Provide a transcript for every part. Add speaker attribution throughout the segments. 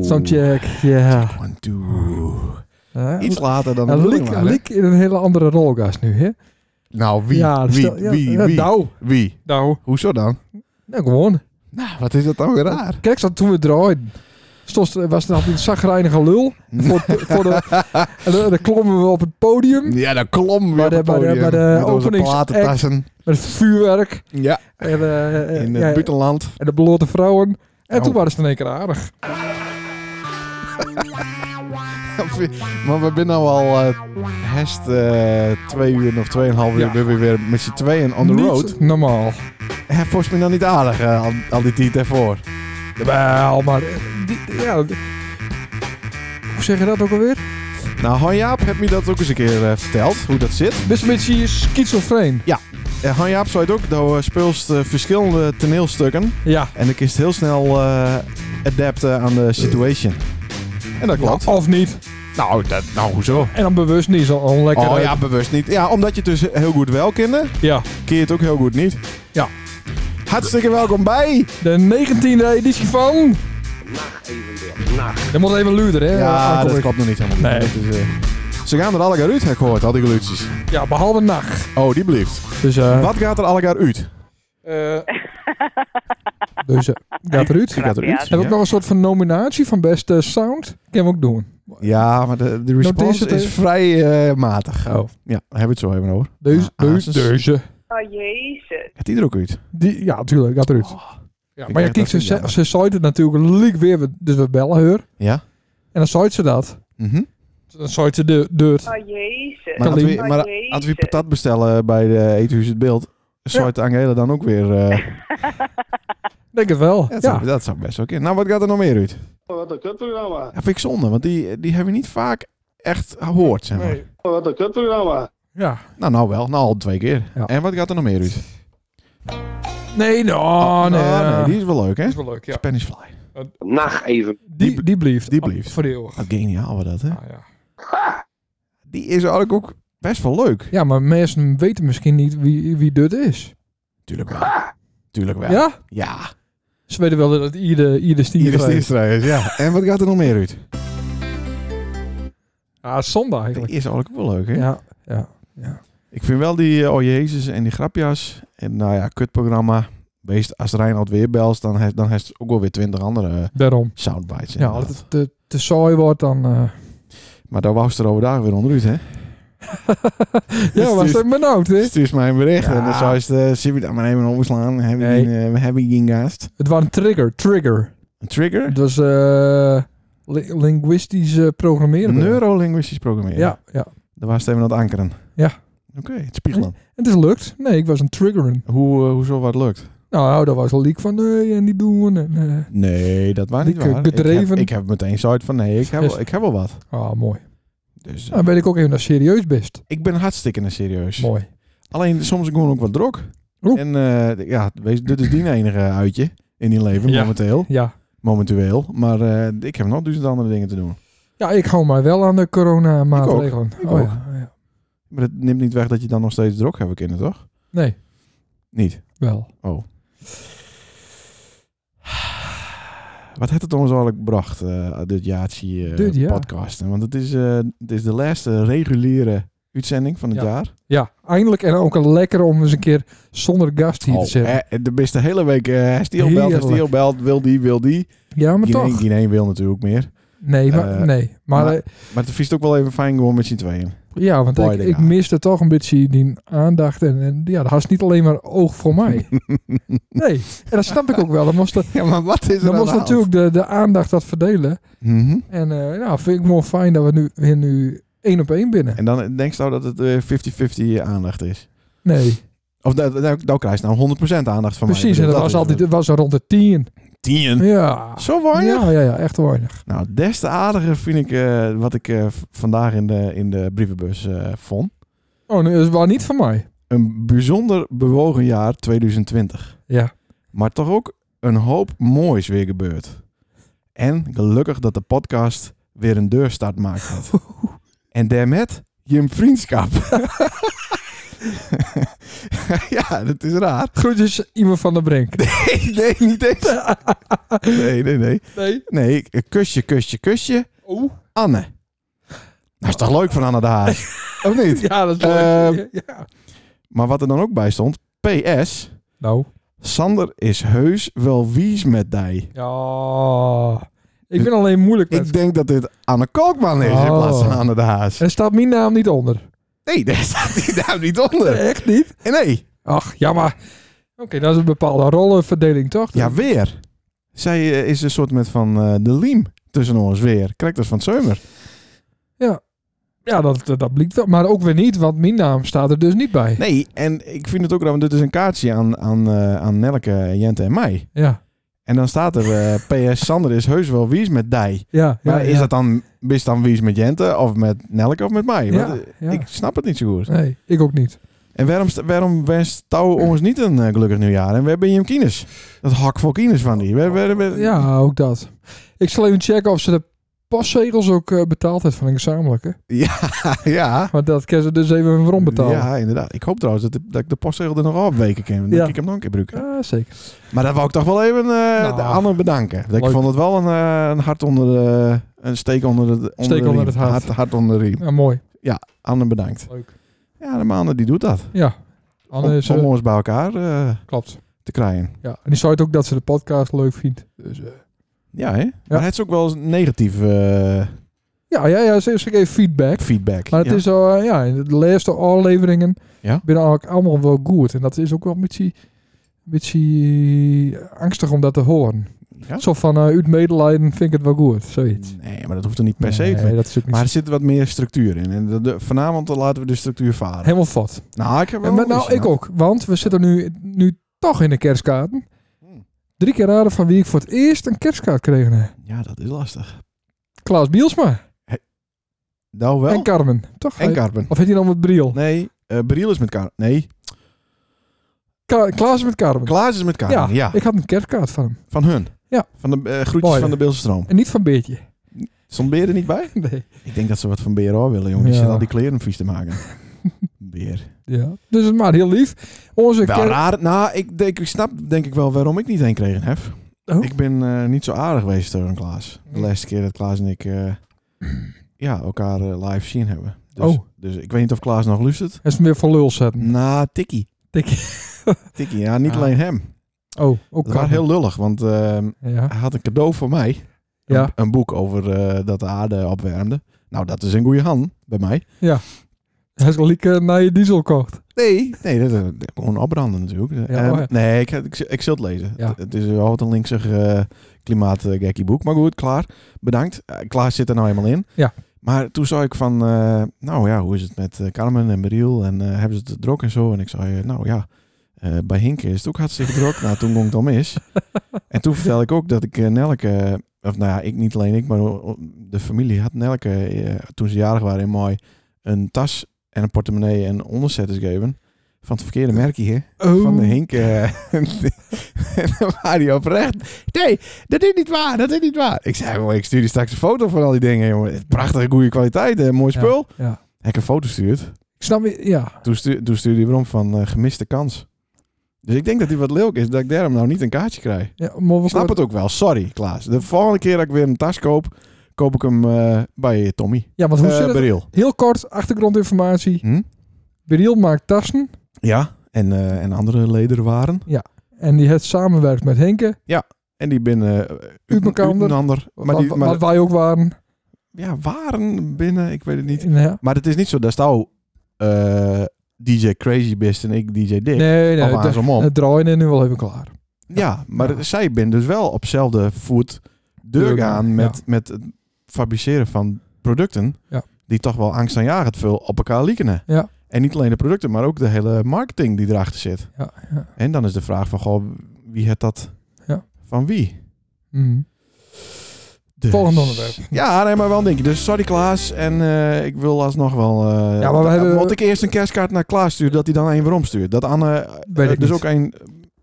Speaker 1: Soundcheck, ja.
Speaker 2: One, two.
Speaker 1: Eh,
Speaker 2: Iets later dan de
Speaker 1: en
Speaker 2: bedoeling
Speaker 1: Liek,
Speaker 2: waren.
Speaker 1: Liek in een hele andere rol, guys, nu, hè?
Speaker 2: Nou, wie?
Speaker 1: Ja,
Speaker 2: wie?
Speaker 1: stel- ja,
Speaker 2: wie?
Speaker 1: ja,
Speaker 2: wie?
Speaker 1: Nou,
Speaker 2: Wie?
Speaker 1: nou.
Speaker 2: Hoezo dan?
Speaker 1: Nou, gewoon.
Speaker 2: Nou, wat is dat dan weer raar?
Speaker 1: Kijk, zat toen we draaiden. Stond, was nog een zagrijnige lul. voor, voor de, en dan, dan klommen we op het podium.
Speaker 2: Ja, dan klom weer
Speaker 1: Bij
Speaker 2: op
Speaker 1: de-
Speaker 2: het
Speaker 1: bij de-
Speaker 2: podium.
Speaker 1: bij de
Speaker 2: met onze
Speaker 1: openings-
Speaker 2: platentassen.
Speaker 1: Met het vuurwerk.
Speaker 2: Ja,
Speaker 1: En, eh, eh,
Speaker 2: in het
Speaker 1: ja,
Speaker 2: buitenland.
Speaker 1: en de blote vrouwen. En
Speaker 2: Oh.
Speaker 1: toen waren ze in één keer aardig.
Speaker 2: maar we zijn nou al eh, herst eh, twee uur of tweeënhalf uur
Speaker 1: Ja.
Speaker 2: ben we weer met z'n tweeën on the
Speaker 1: Niet
Speaker 2: road.
Speaker 1: normaal.
Speaker 2: Hij volgens mij nou niet aardig eh, al, al die tijd daarvoor.
Speaker 1: Wel, maar... eh, die- ja, die- hoe zeg je dat ook alweer?
Speaker 2: Nou, Hanjaap heeft me dat ook eens een keer eh, verteld, hoe dat zit.
Speaker 1: Best een beetje schizofreen.
Speaker 2: En Hanjaap zei het ook, dat eh, speelst eh, verschillende toneelstukken.
Speaker 1: Ja.
Speaker 2: En dan kun je het heel snel eh, adapten aan de situation. En dat klopt.
Speaker 1: Of niet.
Speaker 2: Nou, dat, nou hoezo?
Speaker 1: En dan bewust niet. Zo onlekker.
Speaker 2: Oh
Speaker 1: uit.
Speaker 2: ja, bewust niet. Ja, omdat je het dus heel goed wel kende,
Speaker 1: ja.
Speaker 2: kun je het ook heel goed niet.
Speaker 1: Ja.
Speaker 2: Hartstikke welkom bij!
Speaker 1: De 19e editie van... Dat moet even luider,
Speaker 2: eh,
Speaker 1: hè?
Speaker 2: Ja, dat
Speaker 1: Aankondiging.
Speaker 2: klopt nog niet helemaal.
Speaker 1: Nee.
Speaker 2: Dat is, eh, Ze gaan er allegaar uit, heb ik gehoord, al die geluidjes.
Speaker 1: Ja, behalve nacht.
Speaker 2: Oh, die blieft.
Speaker 1: Dus, eh
Speaker 2: Wat gaat er allegaar uit?
Speaker 1: eh, dus eh, gaat eruit.
Speaker 2: Gaat er uit?
Speaker 1: Heb ik nog een soort van nominatie van beste sound? Kunnen we ook doen.
Speaker 2: Ja, maar de, de
Speaker 1: Noteer
Speaker 2: response
Speaker 1: ze
Speaker 2: is
Speaker 1: even.
Speaker 2: vrij eh, matig.
Speaker 1: Oh.
Speaker 2: Ja, daar hebben we het zo even over.
Speaker 1: Deze,
Speaker 2: Ah,
Speaker 1: deze,
Speaker 2: Asus.
Speaker 1: deze.
Speaker 3: Oh jezus.
Speaker 2: Het ieder ook uit.
Speaker 1: Die, ja, natuurlijk, gaat eruit. Ja, maar ja,
Speaker 2: dat
Speaker 1: kijk,
Speaker 2: vind Oh, ik
Speaker 1: ze,
Speaker 2: jammer.
Speaker 1: ze zei het natuurlijk liek weer. we- Dus we bellen haar.
Speaker 2: Ja?
Speaker 1: En dan zei ze dat.
Speaker 2: Mhm.
Speaker 1: Dan zei ze de deur.
Speaker 3: Oh jezus.
Speaker 2: Maar, als
Speaker 1: Kalien.
Speaker 2: we,
Speaker 3: Oh,
Speaker 2: maar
Speaker 3: jezus.
Speaker 2: als we patat bestellen bij de Eethuis het Beeld, zou het Angela dan ook weer... eh,
Speaker 1: Denk het wel.
Speaker 2: dat,
Speaker 1: Ja.
Speaker 2: zou, dat zou best wel kunnen. Nou, wat gaat er nog meer uit?
Speaker 4: Wat een kutprogramma.
Speaker 2: Dat vind ik zonde, want die, die hebben we niet vaak echt gehoord, zeg maar.
Speaker 1: Nee.
Speaker 4: Wat een kutprogramma.
Speaker 1: Ja.
Speaker 2: Nou, nou wel. Nou, al twee keer.
Speaker 1: Ja.
Speaker 2: En wat gaat er nog meer uit?
Speaker 1: Nee, no, Oh, nee. eh.
Speaker 2: Nou,
Speaker 1: ja.
Speaker 2: nee, die is wel leuk, hè?
Speaker 1: is wel leuk, ja.
Speaker 2: Spanish Fly.
Speaker 4: Nacht even.
Speaker 1: Die, die blieft.
Speaker 2: die blieft.
Speaker 1: Voor eeuwig.
Speaker 2: Wat geniaal was dat, hè?
Speaker 1: Ah, ja.
Speaker 2: Die is eigenlijk ook best wel leuk.
Speaker 1: ja, maar mensen weten misschien niet wie, wie dit is.
Speaker 2: Tuurlijk wel. Tuurlijk wel.
Speaker 1: Ja?
Speaker 2: Ja.
Speaker 1: Ze weten wel dat ieder, ieder stier
Speaker 2: Hier is de
Speaker 1: is.
Speaker 2: Istra is, ja. En wat gaat er nog meer uit?
Speaker 1: Ah, zondag
Speaker 2: Die
Speaker 1: eigenlijk.
Speaker 2: is eigenlijk ook wel leuk, hè?
Speaker 1: Ja, ja.
Speaker 2: Ik vind wel die eh, Oh Jezus en die grapjas. En nou ja, kutprogramma. Wees, als Reinhard weer belt, dan heeft dan heeft het ook wel weer twintig andere eh,
Speaker 1: daarom.
Speaker 2: soundbites.
Speaker 1: Ja, als
Speaker 2: inderdaad.
Speaker 1: het te, te saai wordt, dan... eh
Speaker 2: Maar daar wou ze er overdag weer onderuit, hè? Dus
Speaker 1: ja, was het benauwd, hè?
Speaker 2: Stuur mij een bericht
Speaker 1: Ja.
Speaker 2: en dan zou je het uh, maar even overslaan. Hebben we
Speaker 1: Nee.
Speaker 2: geen, eh, we hebben geen gast.
Speaker 1: Het was een trigger, trigger.
Speaker 2: Een trigger?
Speaker 1: Het was eh li- linguistisch eh, programmeren.
Speaker 2: Neurolinguistisch programmeren.
Speaker 1: Ja, ja.
Speaker 2: Daar was het even aan het ankeren.
Speaker 1: Ja.
Speaker 2: Oké, het spiegelen.
Speaker 1: En het is lukt. Nee, ik was een triggeren.
Speaker 2: Hoe, eh, hoezo wat lukt?
Speaker 1: Nou, dat was een leak van nee en die doen. En, eh,
Speaker 2: Nee, dat was
Speaker 1: niet
Speaker 2: niet
Speaker 1: Ik, eh, waar.
Speaker 2: waar. Ik
Speaker 1: gedreven.
Speaker 2: heb, ik heb meteen zoiets van nee, ik heb,
Speaker 1: Yes.
Speaker 2: wel, ik heb wel wat.
Speaker 1: Ah, mooi.
Speaker 2: Dus eh,
Speaker 1: Dan ben ik ook even naar serieus best.
Speaker 2: ik ben hartstikke serieus.
Speaker 1: Mooi.
Speaker 2: Alleen soms gewoon ook wat drok.
Speaker 1: Oeh.
Speaker 2: En eh, ja, wees, dit is die enige uitje in die leven
Speaker 1: Ja.
Speaker 2: momenteel.
Speaker 1: Ja.
Speaker 2: Momentueel. Maar eh, ik heb nog duizend andere dingen te doen.
Speaker 1: Ja, ik hou mij wel aan de coronamaatregelen.
Speaker 2: Ik
Speaker 1: oh,
Speaker 2: ook.
Speaker 1: Ja, oh ja.
Speaker 2: Maar dat neemt niet weg dat je dan nog steeds drok hebt, kinderen, toch?
Speaker 1: Nee,
Speaker 2: Niet.
Speaker 1: wel.
Speaker 2: Oh. Wat heeft het ons eigenlijk gebracht, eh, dit jaartje eh,
Speaker 1: Dit jaar.
Speaker 2: podcast? Want het is, eh, het is de laatste reguliere uitzending van het
Speaker 1: Ja.
Speaker 2: jaar.
Speaker 1: Ja, eindelijk en ook al lekker om eens een keer zonder gast hier
Speaker 2: Oh,
Speaker 1: te zitten.
Speaker 2: eh, de beste hele week eh stilbelt,
Speaker 1: Heerlijk.
Speaker 2: stilbelt, wil die, wil die.
Speaker 1: ja, maar
Speaker 2: Geen één-
Speaker 1: toch.
Speaker 2: geen één wil natuurlijk meer.
Speaker 1: Nee, maar,
Speaker 2: Eh,
Speaker 1: nee. maar,
Speaker 2: maar-
Speaker 1: eh,
Speaker 2: Maar het is ook wel even fijn gewoon met z'n tweeën.
Speaker 1: ja, want ik,
Speaker 2: beide
Speaker 1: ik
Speaker 2: gaan.
Speaker 1: miste toch een beetje die aandacht. En, en ja, dat was niet alleen maar oog voor mij. nee, en dat snap ik ook wel. Dan moest, er-
Speaker 2: Ja, maar wat is
Speaker 1: dan moest natuurlijk de, de aandacht dat verdelen.
Speaker 2: Mhm.
Speaker 1: En eh, nou, vind ik wel fijn dat we nu weer nu één op één binnen.
Speaker 2: En dan denk je nou dat het eh, 50-50 aandacht is.
Speaker 1: Nee,
Speaker 2: Of dat dat- dat- dan krijg je nou 100% aandacht van mij.
Speaker 1: precies. En
Speaker 2: Ik bedoel,
Speaker 1: dat was
Speaker 2: is
Speaker 1: altijd dat was rond de tien.
Speaker 2: tien.
Speaker 1: Ja.
Speaker 2: Zo warm.
Speaker 1: Ja, ja, ja, echt weinig.
Speaker 2: Nou, des te aardiger vind ik eh, wat ik eh, v- vandaag in de, in de brievenbus eh, vond.
Speaker 1: Oh, nee, dat was niet van mij.
Speaker 2: Een bijzonder bewogen jaar 2020.
Speaker 1: Ja.
Speaker 2: Maar toch ook een hoop moois weer gebeurd. En gelukkig dat de podcast weer een deurstart maakt. had. en daarmee je vriendschap. ja, dat is raar.
Speaker 1: Groetjes, iemand dus van de Brink.
Speaker 2: Nee, niet eens. Nee, nee, nee.
Speaker 1: Nee.
Speaker 2: Nee, ik- eh, kusje, kusje, kusje.
Speaker 1: Oh.
Speaker 2: Anne. Dat is toch leuk van Anne de Haas? of niet?
Speaker 1: Ja, dat is
Speaker 2: Eh,
Speaker 1: leuk. ja.
Speaker 2: Maar wat er dan ook bij stond. PS.
Speaker 1: Nou.
Speaker 2: Sander is heus wel wies met die.
Speaker 1: Ja. Ik ben alleen moeilijk met...
Speaker 2: Ik denk dat dit Anne Kalkman is in
Speaker 1: Oh.
Speaker 2: plaats van Anne de Haas.
Speaker 1: Er staat mijn naam niet onder.
Speaker 2: Nee, daar staat die naam niet onder.
Speaker 1: Echt niet?
Speaker 2: Nee.
Speaker 1: Ach, jammer. Oké, dat is een bepaalde rollenverdeling, toch?
Speaker 2: Ja, weer. Zij eh, is een soort met van eh, de liem tussen ons weer. Krijgt dat van het Zeumer.
Speaker 1: Ja, dat, dat, dat blijkt wel. Maar ook weer niet, want mijn naam staat er dus niet bij.
Speaker 2: Nee, en ik vind het ook raar, want dit is een kaartje aan, aan, eh, aan Nelke, Jente en mij.
Speaker 1: Ja,
Speaker 2: En dan staat er eh, PS Sander is heus wel wies met die.
Speaker 1: ja. ja
Speaker 2: Maar is
Speaker 1: ja.
Speaker 2: dat dan, is dan wies met Jente of met Nelke of met mij?
Speaker 1: Ja,
Speaker 2: Want, eh,
Speaker 1: ja.
Speaker 2: Ik snap het niet zo goed.
Speaker 1: Nee, ik ook niet.
Speaker 2: En waarom, st- waarom wenst Touw ons niet een eh, gelukkig nieuwjaar? En waar ben je hem kines? Dat hak vol kines van die. Waar- waar- waar-
Speaker 1: Ja, ook dat. Ik zal even checken of ze de postzegels ook eh, betaald heeft van een gezamenlijke.
Speaker 2: ja.
Speaker 1: Want dat kan ze dus even waarom betalen. Ja.
Speaker 2: Ja, inderdaad. Ik hoop trouwens dat, ik- dat ik de postzegel er nog afweken kan. Dan
Speaker 1: Ja.
Speaker 2: kan ik hem nog een keer gebruiken.
Speaker 1: zeker.
Speaker 2: Maar dat wou ik toch wel even eh de Anne bedanken. Dat ik
Speaker 1: leuk.
Speaker 2: vond het wel een, eh, een hart onder de... Een steek onder, de, onder,
Speaker 1: Steek
Speaker 2: de
Speaker 1: onder
Speaker 2: riem.
Speaker 1: het hart.
Speaker 2: Hart onder de riem.
Speaker 1: Ja, mooi.
Speaker 2: Anne bedankt.
Speaker 1: Leuk.
Speaker 2: Ja, de maanden die doet dat.
Speaker 1: Ja, Anne is...
Speaker 2: om, om
Speaker 1: eh,
Speaker 2: ons bij elkaar eh,
Speaker 1: klopt.
Speaker 2: te krijgen.
Speaker 1: Ja, en die zei het ook dat ze de podcast leuk vindt. Dus, eh,
Speaker 2: Ja, hè? Maar het is ook wel eens negatief eh,
Speaker 1: ja, ja, ja, ze, ze geeft feedback.
Speaker 2: feedback.
Speaker 1: Maar het
Speaker 2: Ja.
Speaker 1: is al, eh, ja, in de laatste afleveringen
Speaker 2: Ja.
Speaker 1: ben eigenlijk allemaal wel goed. En dat is ook wel een beetje, een beetje eh, angstig om dat te horen.
Speaker 2: Ja?
Speaker 1: Zo van, eh uit medelijden vind ik het wel goed, zoiets.
Speaker 2: Nee, maar dat hoeft er niet per se. te-
Speaker 1: Nee, dat is ook niet
Speaker 2: Maar
Speaker 1: zo-
Speaker 2: er zit wat meer structuur in. En de, de- vanavond laten we de structuur varen.
Speaker 1: helemaal vat.
Speaker 2: nou, ik heb wel
Speaker 1: En met,
Speaker 2: eens,
Speaker 1: nou, ik
Speaker 2: ja.
Speaker 1: ook. Want we zitten nu, nu toch in de kerstkaarten.
Speaker 2: Hmm.
Speaker 1: Drie keer raden van wie ik voor het eerst een kerstkaart kreeg. hè.
Speaker 2: Ja, dat is lastig.
Speaker 1: Klaas Bielsma
Speaker 2: Nou wel.
Speaker 1: en Oh. Carmen. Toch?
Speaker 2: En Karpen.
Speaker 1: Of heet hij dan met Briel?
Speaker 2: Nee, eh Briel is met Karpen. Nee,
Speaker 1: Ka- Klaas met Carmen.
Speaker 2: Klaas is met Karpen. Ja,
Speaker 1: Oh. ik had een kerstkaart van hem.
Speaker 2: van hun.
Speaker 1: Ja.
Speaker 2: Van de eh, groetjes
Speaker 1: Mooi,
Speaker 2: van
Speaker 1: hè?
Speaker 2: de Beelse Stroom.
Speaker 1: En niet van Beertje.
Speaker 2: Stond Beer er niet bij?
Speaker 1: Nee.
Speaker 2: Ik denk dat ze wat van Beer al willen, jongen. Die
Speaker 1: Ja.
Speaker 2: zitten al die kleren vies te maken. Beer.
Speaker 1: Ja. Dus maar heel lief. Onze
Speaker 2: Wel
Speaker 1: kerk-
Speaker 2: raar. Nou, ik, denk, ik snap denk ik wel waarom ik niet heen kreeg heb.
Speaker 1: Oh.
Speaker 2: Ik ben eh, niet zo aardig geweest tegen Klaas. De
Speaker 1: Nee.
Speaker 2: laatste keer dat Klaas en ik eh, ja, elkaar eh, live zien hebben. Dus,
Speaker 1: Oh.
Speaker 2: dus ik weet niet of Klaas nog luistert.
Speaker 1: Hij is meer van lul zetten.
Speaker 2: Na Tikkie.
Speaker 1: Tikkie.
Speaker 2: Tikkie, ja, niet
Speaker 1: Ah.
Speaker 2: alleen hem.
Speaker 1: Oh, ook
Speaker 2: Dat was
Speaker 1: Carmen.
Speaker 2: heel lullig, want ehm,
Speaker 1: Ja.
Speaker 2: hij had een cadeau voor mij. Een-
Speaker 1: Ja.
Speaker 2: Een, boek over eh, dat de aarde opwarmde. Nou, dat is een goede hand bij mij.
Speaker 1: Hij is gelijk eh, naar je diesel kocht.
Speaker 2: Nee, nee dat, eh, dat- gewoon opbranden natuurlijk. Ehm,
Speaker 1: oh ja.
Speaker 2: Nee, ik, ik, ik zul het lezen.
Speaker 1: Ja.
Speaker 2: Het, het is wel wat een linksig eh klimaatgekkie boek. Maar goed, klaar. Bedankt. Eh, Klaas zit er nou eenmaal in.
Speaker 1: Ja.
Speaker 2: Maar toen zei ik van, eh, nou ja, hoe is het met eh, Carmen en Beriel? En eh, hebben ze het druk en zo? En ik zei, eh, nou ja, eh, bij Hinke is het ook hartstikke druk. nou, toen ging het al mis. en toen vertelde ik ook dat ik eh, Nelke, eh, of nou ja, ik niet alleen ik, maar o- de familie had Nelke, eh, toen ze jarig waren in mooi, een tas en een portemonnee en onderzetters gegeven. Van het verkeerde merkje hier
Speaker 1: Oh.
Speaker 2: van de Hink. eh, en dan waren die oprecht. Nee, dat is niet waar, dat is niet waar. Ik zei, "Wel, ik stuur je straks een foto van al die dingen, jongen. Prachtige, goede kwaliteit, eh, mooi
Speaker 1: Ja,
Speaker 2: spul.
Speaker 1: ja.
Speaker 2: Heb ik een foto gestuurd.
Speaker 1: Ik snap je. Ja.
Speaker 2: Toen, stu toen stuurde hij erom van eh, gemiste kans. Dus ik denk dat hij wat leuk is, dat ik daarom nou niet een kaartje krijg.
Speaker 1: ja maar we
Speaker 2: Ik snap het ook wel, sorry Klaas. De volgende keer dat ik weer een tas koop, koop ik hem eh, bij Tommy.
Speaker 1: Ja, want hoe
Speaker 2: Eh,
Speaker 1: zit het?
Speaker 2: Beryl.
Speaker 1: Heel kort, achtergrondinformatie.
Speaker 2: Hm?
Speaker 1: Beriel maakt tassen.
Speaker 2: Ja, en, eh, en andere leden waren.
Speaker 1: En die het samenwerkt met Henke.
Speaker 2: En die binnen eh,
Speaker 1: Uit elkaar.
Speaker 2: een ander. Maar
Speaker 1: wat,
Speaker 2: die, maar,
Speaker 1: wat wij ook waren.
Speaker 2: ja, waren binnen, ik weet het niet.
Speaker 1: Ja.
Speaker 2: Maar het is niet zo dat jou eh, DJ Crazy Bist en ik Oh, DJ Dick.
Speaker 1: Nee, nee.
Speaker 2: of
Speaker 1: de-
Speaker 2: andersom om.
Speaker 1: Het draaien is nu wel even klaar.
Speaker 2: ja, maar
Speaker 1: Ja.
Speaker 2: zij bent dus wel op zelfde voet deur gaan met, met het fabriceren van producten
Speaker 1: Ja.
Speaker 2: die toch wel angstaanjagend veel op elkaar liekenen.
Speaker 1: Ja.
Speaker 2: En niet alleen de producten, maar ook de hele marketing die erachter zit.
Speaker 1: Ja, ja.
Speaker 2: En dan is de vraag van, goh, wie het dat
Speaker 1: Ja.
Speaker 2: van wie?
Speaker 1: Mhm.
Speaker 2: Dus-
Speaker 1: Volgende onderwerp.
Speaker 2: Ja, nee, maar wel een dingetje. Dus sorry Klaas. En eh, ik wil alsnog wel... eh
Speaker 1: Ja, maar we hebben-
Speaker 2: Moet ik eerst een kerstkaart naar Klaas sturen, dat hij dan een weer omstuurt? Dat Anne eh,
Speaker 1: Weet ik
Speaker 2: dus
Speaker 1: niet.
Speaker 2: ook een...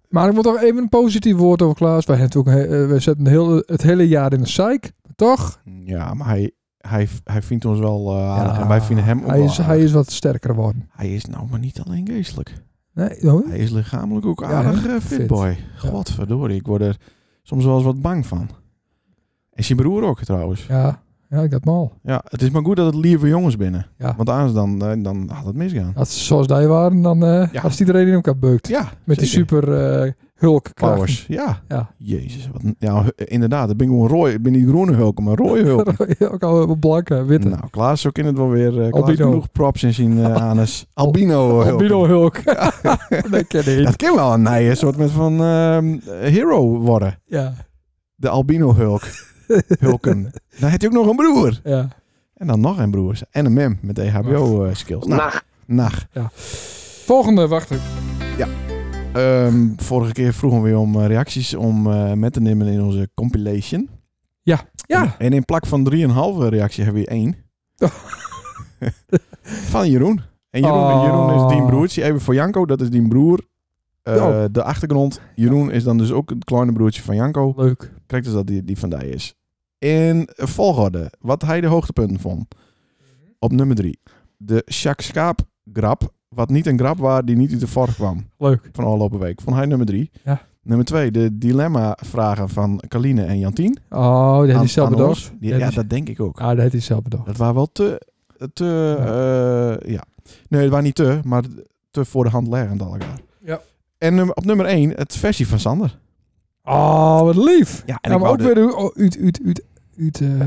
Speaker 1: Maar ik moet toch even een positief woord over Klaas. Wij, hebben natuurlijk, eh, wij zitten heel, het hele jaar in de zeik. Maar toch?
Speaker 2: Ja, maar hij, hij, hij vindt ons wel eh, aardig.
Speaker 1: Ja,
Speaker 2: en wij vinden hem ook
Speaker 1: hij
Speaker 2: wel
Speaker 1: is,
Speaker 2: aardig.
Speaker 1: hij is wat sterker geworden.
Speaker 2: Hij is nou maar niet alleen geestelijk.
Speaker 1: Nee, oh,
Speaker 2: Hij is lichamelijk ook
Speaker 1: Ja,
Speaker 2: aardig
Speaker 1: hè?
Speaker 2: eh,
Speaker 1: Fit.
Speaker 2: fit boy. Godverdorie, ik word er soms wel eens wat bang van. En zijn broer ook trouwens.
Speaker 1: ja, ja, ik dat mal.
Speaker 2: Ja, het is maar goed dat het lieve jongens binnen.
Speaker 1: Ja.
Speaker 2: Want anders dan, eh, dan had het misgaan.
Speaker 1: Als ze zoals die waren, dan eh
Speaker 2: Ja.
Speaker 1: als iedereen in elkaar beukt.
Speaker 2: Ja,
Speaker 1: Met die
Speaker 2: zeker.
Speaker 1: super eh hulk
Speaker 2: powers. Ja.
Speaker 1: Ja.
Speaker 2: Jezus, wat, ja, hu- inderdaad. Ik ben gewoon rooi. Ik ben niet groene hulk, maar rode hulk.
Speaker 1: ook al eh, blanke, witte.
Speaker 2: nou, Klaas ook in het wel weer. eh Klaas
Speaker 1: Albino.
Speaker 2: genoeg props in zien eh anus. Albino hulk.
Speaker 1: Albino hulk. dat ken ik.
Speaker 2: Dat kan wel een nij, een soort met van ehm, hero worden.
Speaker 1: Ja,
Speaker 2: De albino hulk. Hulken. Dan heb je ook nog een broer.
Speaker 1: ja.
Speaker 2: En dan nog een broers. En een mem met E EHBO-skills. nou,
Speaker 4: Nacht.
Speaker 2: nacht.
Speaker 1: Volgende, wacht even.
Speaker 2: Ehm, vorige keer vroegen we je om eh, reacties om eh, met te nemen in onze compilation.
Speaker 1: Ja,
Speaker 2: En in plak van 3,5 reactie hebben we één. van Jeroen. En Jeroen,
Speaker 1: Oh.
Speaker 2: Jeroen is Dien broertje. Even voor Janko, dat is Dien broer. Eh,
Speaker 1: Oh.
Speaker 2: De achtergrond. Jeroen is dan dus ook het kleine broertje van Janko.
Speaker 1: leuk.
Speaker 2: Krijgt dus dat die, die van die is. In volgorde, wat hij de hoogtepunten vond. Op nummer 3. De Jacques Schaap grap. Wat niet een grap was die niet uit de vork kwam
Speaker 1: Leuk.
Speaker 2: van afgelopen week. Vond hij nummer 3.
Speaker 1: Ja.
Speaker 2: Nummer 2. De dilemma vragen van Kaline en Jantien.
Speaker 1: Oh, dat had hij
Speaker 2: Aan-
Speaker 1: zelf
Speaker 2: aan
Speaker 1: bedacht.
Speaker 2: ons. Die-
Speaker 1: Ja,
Speaker 2: Ja,
Speaker 1: die-
Speaker 2: dat denk ik ook.
Speaker 1: Ah, dat had hij zelf bedacht.
Speaker 2: Dat waren wel te... te eh, ja. Nee, het waren niet te, maar te voor de hand liggend al elkaar.
Speaker 1: Ja.
Speaker 2: En nummer- op nummer 1, het versie van Sander.
Speaker 1: Oh, wat lief.
Speaker 2: Ja,
Speaker 1: En maar ook weer oh, uit, uit, uit, uit, eh,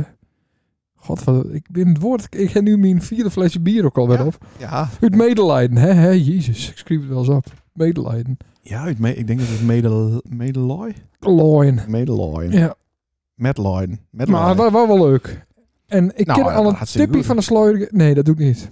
Speaker 1: God, wat, ik ben het woord. Ik heb nu mijn vierde flesje bier ook alweer
Speaker 2: Ja.
Speaker 1: op.
Speaker 2: Ja,
Speaker 1: Uit medelijden, hè? hè? Jezus, ik schreef het wel eens op. Medelijden.
Speaker 2: ja uit me- ik denk dat het Medel- Medeloy?
Speaker 1: Loin.
Speaker 2: Medeloy.
Speaker 1: Ja,
Speaker 2: Medloin. Medloin.
Speaker 1: maar dat was wel leuk. En ik
Speaker 2: Nou,
Speaker 1: ken al een
Speaker 2: hartstikke
Speaker 1: tipje
Speaker 2: goed.
Speaker 1: van de sluier. Nee, dat doe ik niet.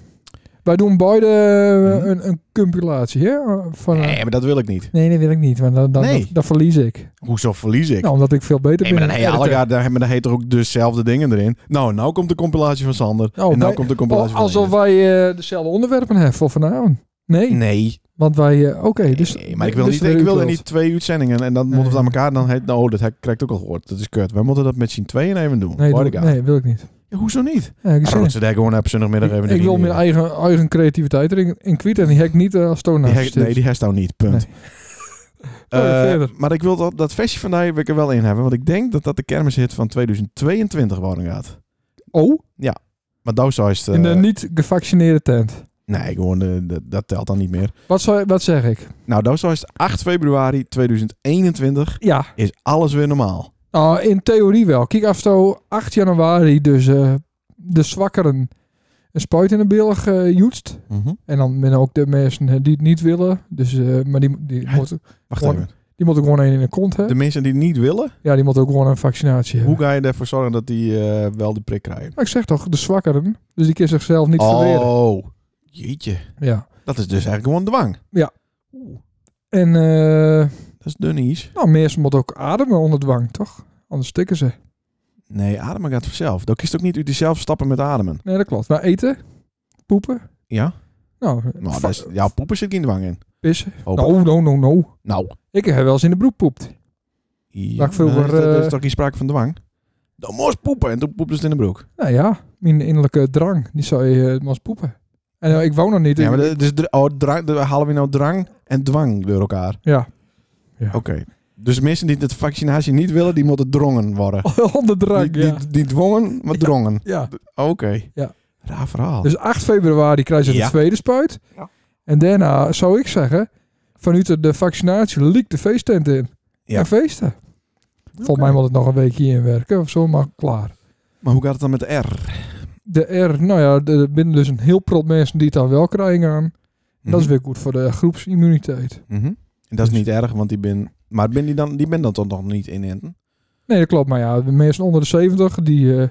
Speaker 1: Wij doen beide eh,
Speaker 2: Mhm.
Speaker 1: een, een compilatie, hè? Van, eh,
Speaker 2: Nee, maar dat wil ik niet.
Speaker 1: nee, dat wil ik niet, want dan, dan,
Speaker 2: Nee.
Speaker 1: dat, dat verlies ik.
Speaker 2: Hoezo verlies ik?
Speaker 1: Nou, omdat ik veel beter
Speaker 2: Nee, maar
Speaker 1: ben.
Speaker 2: dan,
Speaker 1: in
Speaker 2: hey, alle
Speaker 1: editen.
Speaker 2: jaar, daar, maar dan heet er ook dezelfde dingen erin. Nou, nou komt de compilatie van Sander.
Speaker 1: Oh,
Speaker 2: en nou
Speaker 1: wij-
Speaker 2: komt de
Speaker 1: Oh,
Speaker 2: compilatie van
Speaker 1: alsof wij eh, dezelfde onderwerpen hebben voor vanavond. Nee,
Speaker 2: Nee,
Speaker 1: want wij... eh, Oké, dus...
Speaker 2: nee, maar ik wil,
Speaker 1: dus
Speaker 2: niet,
Speaker 1: weer
Speaker 2: ik wil er
Speaker 1: uitbeeld.
Speaker 2: niet twee uitzendingen en dan
Speaker 1: Nee.
Speaker 2: moeten we het aan elkaar. Dan heet, nou, dat he- krijgt ook al gehoord. Dat is kut. Wij moeten dat met z'n tweeën even doen.
Speaker 1: Nee,
Speaker 2: Hoor
Speaker 1: doe-
Speaker 2: ik aan.
Speaker 1: nee, wil ik niet.
Speaker 2: Ja, hoezo niet?
Speaker 1: Ja, ik zeg-
Speaker 2: Rood ze daar gewoon op zondagmiddag even
Speaker 1: ik, ik
Speaker 2: erin.
Speaker 1: wil mijn eigen, eigen creativiteit erin in kwijt en die heb ik niet eh, als
Speaker 2: Die
Speaker 1: toonaar.
Speaker 2: he- nee, die herst nou niet. Punt.
Speaker 1: Nee.
Speaker 2: Eh,
Speaker 1: Oh, verder.
Speaker 2: maar ik wil dat, dat festje vandaag wil ik er wel in hebben. Want ik denk dat dat de kermishit van 2022 worden gaat.
Speaker 1: Oh,
Speaker 2: Maar nou zou is het,
Speaker 1: in de
Speaker 2: eh,
Speaker 1: niet gevaccineerde tent.
Speaker 2: Nee, gewoon, eh, dat- dat telt dan niet meer.
Speaker 1: Wat, zou, wat zeg ik?
Speaker 2: Nou, dat is 8 februari 2021
Speaker 1: Ja,
Speaker 2: is alles weer normaal.
Speaker 1: nou, in theorie wel. Kijk af zo 8 januari dus eh, de zwakkeren een spuit in de bil eh, gejoetst.
Speaker 2: Mhm.
Speaker 1: En dan ben ook de mensen eh, die het niet willen. Dus, eh, maar die, die,
Speaker 2: Ja.
Speaker 1: moeten,
Speaker 2: Wacht
Speaker 1: Gewoon-
Speaker 2: even.
Speaker 1: die moeten gewoon een in de kont
Speaker 2: De
Speaker 1: hebben.
Speaker 2: mensen die het niet willen,
Speaker 1: Ja, die moeten ook gewoon een vaccinatie hebben.
Speaker 2: hoe ga je ervoor zorgen dat die eh, wel de prik krijgen?
Speaker 1: Maar ik zeg toch, de zwakkeren. Dus die kunnen zichzelf niet verweren.
Speaker 2: oh, jeetje.
Speaker 1: Ja.
Speaker 2: Dat is dus eigenlijk gewoon dwang.
Speaker 1: Ja.
Speaker 2: Oeh,
Speaker 1: En... eh,
Speaker 2: dat is dun ijs.
Speaker 1: Nou, mensen moeten ook ademen onder dwang, toch? Anders stikken ze.
Speaker 2: Nee, ademen gaat vanzelf. Dat kiest ook niet u zelf stappen met ademen.
Speaker 1: Nee, dat klopt. Maar eten, poepen,
Speaker 2: Ja?
Speaker 1: nou,
Speaker 2: Nou,
Speaker 1: va-
Speaker 2: dat is, ja, poepen zit geen dwang in.
Speaker 1: pissen.
Speaker 2: Hoop ik.
Speaker 1: Nou, no, no, no.
Speaker 2: Nou.
Speaker 1: Ik heb wel eens in de broek poept.
Speaker 2: Ja,
Speaker 1: Maar ik vroeg
Speaker 2: dan is
Speaker 1: maar,
Speaker 2: dat, dat is
Speaker 1: eh,
Speaker 2: toch geen sprake van dwang? Dan moest poepen en toen poepte ze het in de broek.
Speaker 1: Nou ja, mijn innerlijke drang, die zou je eh, moest poepen. En eh, ik woon nog niet.
Speaker 2: Ja,
Speaker 1: in-
Speaker 2: maar dat- dus dr- oh, drang, dan halen we nou drang en dwang door elkaar.
Speaker 1: ja.
Speaker 2: Oké. Dus mensen die het vaccinatie niet willen, die moeten drongen worden.
Speaker 1: onder drang,
Speaker 2: die,
Speaker 1: Oh, ja.
Speaker 2: die, die dwongen, maar drongen.
Speaker 1: ja.
Speaker 2: Oké.
Speaker 1: Ja.
Speaker 2: Raar verhaal.
Speaker 1: Dus 8 februari krijg je de
Speaker 2: Oh. Ja.
Speaker 1: tweede spuit.
Speaker 2: Ja.
Speaker 1: En daarna, zou ik zeggen, vanuit de- de vaccinatie liep de feesttent in.
Speaker 2: Ja.
Speaker 1: En feesten. Volgens mij moet het nog een weekje in werken of zo, maar klaar.
Speaker 2: Maar hoe gaat het dan met de R?
Speaker 1: De R, nou ja, de- er binnen dus een heel prop mensen die het dan wel krijgen aan. Dat is weer goed voor de groepsimmuniteit.
Speaker 2: Mhm. Mhm. En dat is
Speaker 1: Dus-
Speaker 2: niet erg, want die ben... Maar ben die, dan, die ben dan toch nog niet inenten?
Speaker 1: Nee, dat klopt. Maar ja, de mensen onder de 70 die eh,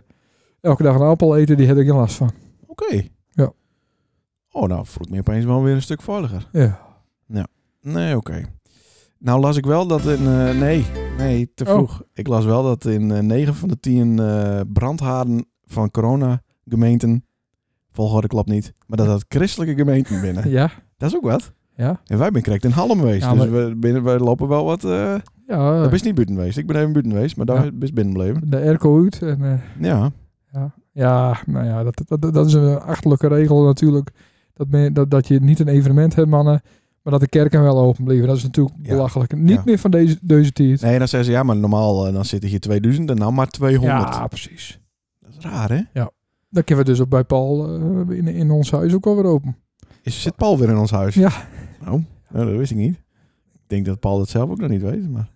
Speaker 1: elke dag een appel eten, die heb ik geen last van.
Speaker 2: Oké.
Speaker 1: Ja.
Speaker 2: Oh, nou voel ik me opeens wel weer een stuk veiliger.
Speaker 1: Ja.
Speaker 2: Nee, oké. Nou las ik wel dat in... eh, nee, nee, te
Speaker 1: Oh.
Speaker 2: vroeg. Ik las wel dat in eh, 9 van de 10 eh brandhaarden van corona gemeenten... Volgorde klopt niet. Maar dat dat christelijke gemeenten binnen.
Speaker 1: Oh, Ja.
Speaker 2: Dat is ook wat.
Speaker 1: Ja.
Speaker 2: En wij ben correct in Hallem geweest.
Speaker 1: Ja,
Speaker 2: Dus we, binnen, we lopen wel wat... eh
Speaker 1: Ja,
Speaker 2: Dat is niet buiten geweest. Ik ben even buiten geweest, maar daar
Speaker 1: Ja.
Speaker 2: is binnen blijven.
Speaker 1: de airco uit. En, eh,
Speaker 2: Ja.
Speaker 1: ja. ja, nou ja, dat, dat, dat is een achterlijke regel natuurlijk. Dat, men, dat, dat je niet een evenement hebt, mannen. Maar dat de kerken wel open blijven, dat is natuurlijk
Speaker 2: Ja.
Speaker 1: belachelijk. Niet
Speaker 2: Ja.
Speaker 1: meer van deze, deze tijd.
Speaker 2: Nee, dan zeggen ze, ja, maar normaal eh, dan zitten hier 2000 en nou maar 200.
Speaker 1: Ja, precies.
Speaker 2: Dat is raar, hè?
Speaker 1: Dat kunnen we dus ook bij Paul eh, in, in ons huis ook alweer open.
Speaker 2: Is, zit Paul weer in ons huis?
Speaker 1: Ja.
Speaker 2: Oh, nou, dat wist ik niet. Ik denk dat Paul dat zelf ook nog niet weet, maar...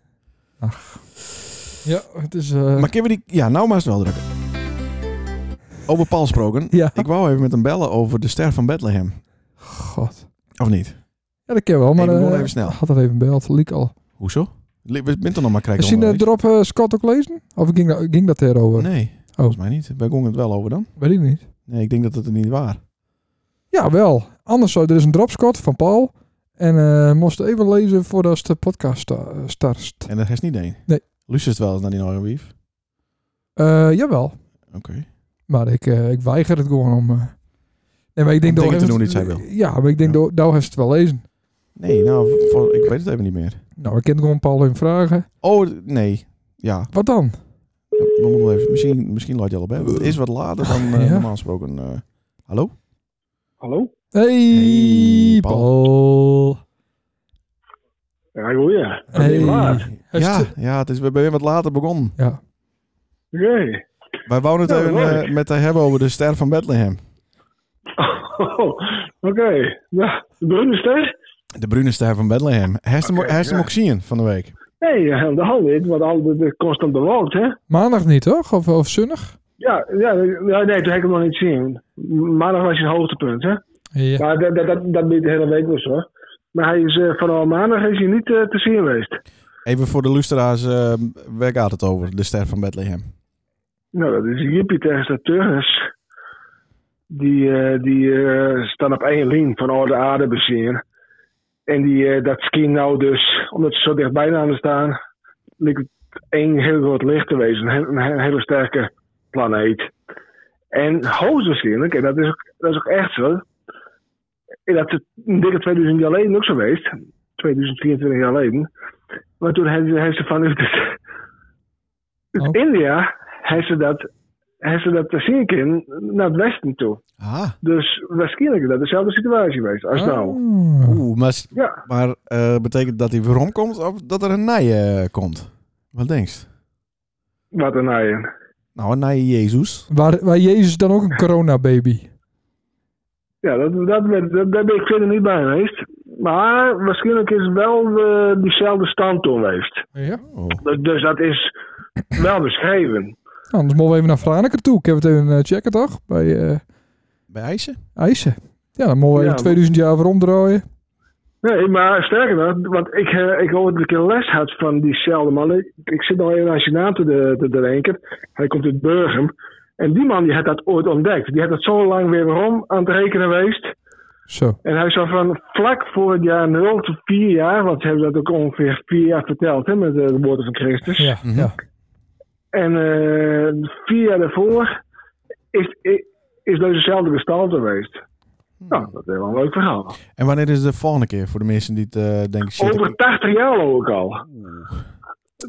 Speaker 1: Ja, het is... eh,
Speaker 2: Maar kunnen we die... Ja, nou maar eens wel drukken. Over Paul gesproken.
Speaker 1: ja,
Speaker 2: Ik wou even met hem bellen over de ster van Bethlehem.
Speaker 1: god.
Speaker 2: Of niet?
Speaker 1: Ja, dat ken wel, maar...
Speaker 2: Even,
Speaker 1: eh,
Speaker 2: gewoon even snel.
Speaker 1: Had er even beld, liek al.
Speaker 2: Hoezo? Le- We bent er nog maar krijgen.
Speaker 1: Misschien eh, erop eh, Scott ook lezen? Of ging dat, ging dat erover?
Speaker 2: Nee, volgens mij niet. Wij gingen het wel over dan.
Speaker 1: Weet ik niet.
Speaker 2: Nee, ik denk dat het er niet waar.
Speaker 1: Ja, wel. Anders zou er is een dropscot van Paul. En eh moest even lezen voordat de podcast sta- eh, start.
Speaker 2: En dat is niet één.
Speaker 1: Nee.
Speaker 2: Luistert wel eens naar die Norge Wief.
Speaker 1: Eh, jawel.
Speaker 2: Oké.
Speaker 1: Maar ik, eh, ik weiger het gewoon om. eh, Nee, maar ik denk
Speaker 2: Om
Speaker 1: dat
Speaker 2: dingen te
Speaker 1: heeft
Speaker 2: doen
Speaker 1: het-
Speaker 2: die zij
Speaker 1: Ja, maar ik denk
Speaker 2: Ja.
Speaker 1: dat daar heeft ze het wel lezen.
Speaker 2: Nee, nou, voor- ik weet het even niet meer.
Speaker 1: Nou, ik kan gewoon Paul hun vragen.
Speaker 2: Oh, d- nee. Ja,
Speaker 1: Wat dan?
Speaker 2: we moeten wel even. Misschien, misschien laat je al op, hè? Want Het is wat later dan eh,
Speaker 1: Ja.
Speaker 2: normaal gesproken. eh. hallo?
Speaker 5: Hallo?
Speaker 1: Hey,
Speaker 2: Hey, Paul.
Speaker 1: Paul.
Speaker 5: Ja, goeie. Oké.
Speaker 1: Hey.
Speaker 5: laat.
Speaker 1: Heeft
Speaker 2: ja,
Speaker 1: het-
Speaker 2: ja, het is, we zijn weer wat later begonnen.
Speaker 1: Ja.
Speaker 2: Wij wouden het
Speaker 5: Ja,
Speaker 2: even
Speaker 5: dat
Speaker 2: eh,
Speaker 5: hoor ik.
Speaker 2: met haar hebben over de ster van Bethlehem.
Speaker 5: Oké. Ja, de bruine ster?
Speaker 2: De brune ster van Bethlehem. Hij hem
Speaker 5: Oké,
Speaker 2: hij is hem
Speaker 5: ja.
Speaker 2: ook zien van de week.
Speaker 5: Nee, eh, helemaal niet, want al de, de kost op de wolk, hè?
Speaker 1: Maandag niet, toch? Of, of zonnig?
Speaker 5: Ja, ja, ja, nee, toen heb ik hem nog niet zien. Maandag was zijn hoogtepunt, hè?
Speaker 1: Ja.
Speaker 5: Maar dat, dat, dat, dat biedt de hele week was, hoor. Maar hij is, eh, vanaf maandag is hij niet eh, te zien geweest.
Speaker 2: Even voor de luisteraars, eh waar gaat het over, de ster van Bethlehem?
Speaker 5: Nou, dat is Jupiter en Saturnus. Die, eh, die eh, staan op één lijn van oude aarde bezien. En die, eh, dat schijnt nou dus, omdat ze zo dichtbij namen staan, lijkt het één heel groot licht te wezen. Een, he- een he- hele sterke planeet. En hoogstwaarschijnlijk, en dat is, ook, dat is ook echt zo, en dat is een dikke 2000 jaar geleden ook zo geweest. 2024 jaar geleden. Maar toen heeft, heeft ze vanuit het, uit
Speaker 1: Oh.
Speaker 5: India heeft ze dat, heeft ze dat te zien kunnen naar het westen toe.
Speaker 2: Ah,
Speaker 5: Dus waarschijnlijk is dat dezelfde situatie geweest als nou.
Speaker 1: Ah.
Speaker 2: oeh, maar, s-
Speaker 5: Ja,
Speaker 2: maar eh, betekent dat hij weer omkomt of dat er een nij eh, komt? Wat denkst?
Speaker 5: wat een naaien.
Speaker 2: Nou, een nij Jezus.
Speaker 1: Waar, waar Jezus dan ook een coronababy?
Speaker 5: Ja, dat, dat, dat, dat- daar ben ik verder niet bij geweest. Maar waarschijnlijk is wel eh, diezelfde stand toen geweest.
Speaker 1: Ja.
Speaker 2: Oh.
Speaker 5: Dus, dus dat is wel beschreven.
Speaker 1: Nou, anders mogen we even naar Franeker toe. Ik heb het even eh, checken, toch? Bij eh
Speaker 2: Bij IJssen?
Speaker 1: IJssen. Ja, dan mogen we
Speaker 5: Ja,
Speaker 1: even
Speaker 5: maar-
Speaker 1: 2000 jaar weer omdraaien.
Speaker 5: Nee, maar sterker nog, want ik, eh, ik hoorde dat ik een les had van diezelfde man. Ik, ik zit nog even aan zijn naam te, de- te, te denken. Hij komt uit Burgum. En die man die had dat ooit ontdekt. Die had dat zo lang weer om aan het rekenen geweest.
Speaker 1: Zo.
Speaker 5: En hij zou van vlak voor het jaar 0 tot 4 jaar, want ze hebben dat ook ongeveer 4 jaar verteld hè, met eh, de woorden van Christus.
Speaker 1: Ja,
Speaker 2: Mhm.
Speaker 1: ja.
Speaker 5: En eh, vier jaar daarvoor is, is, is dezezelfde gestalte geweest. Nou, dat is wel een leuk verhaal.
Speaker 2: En wanneer is de volgende keer voor de mensen die het eh, denken... Shit,
Speaker 5: Over
Speaker 2: ik-
Speaker 5: 80 jaar ook al.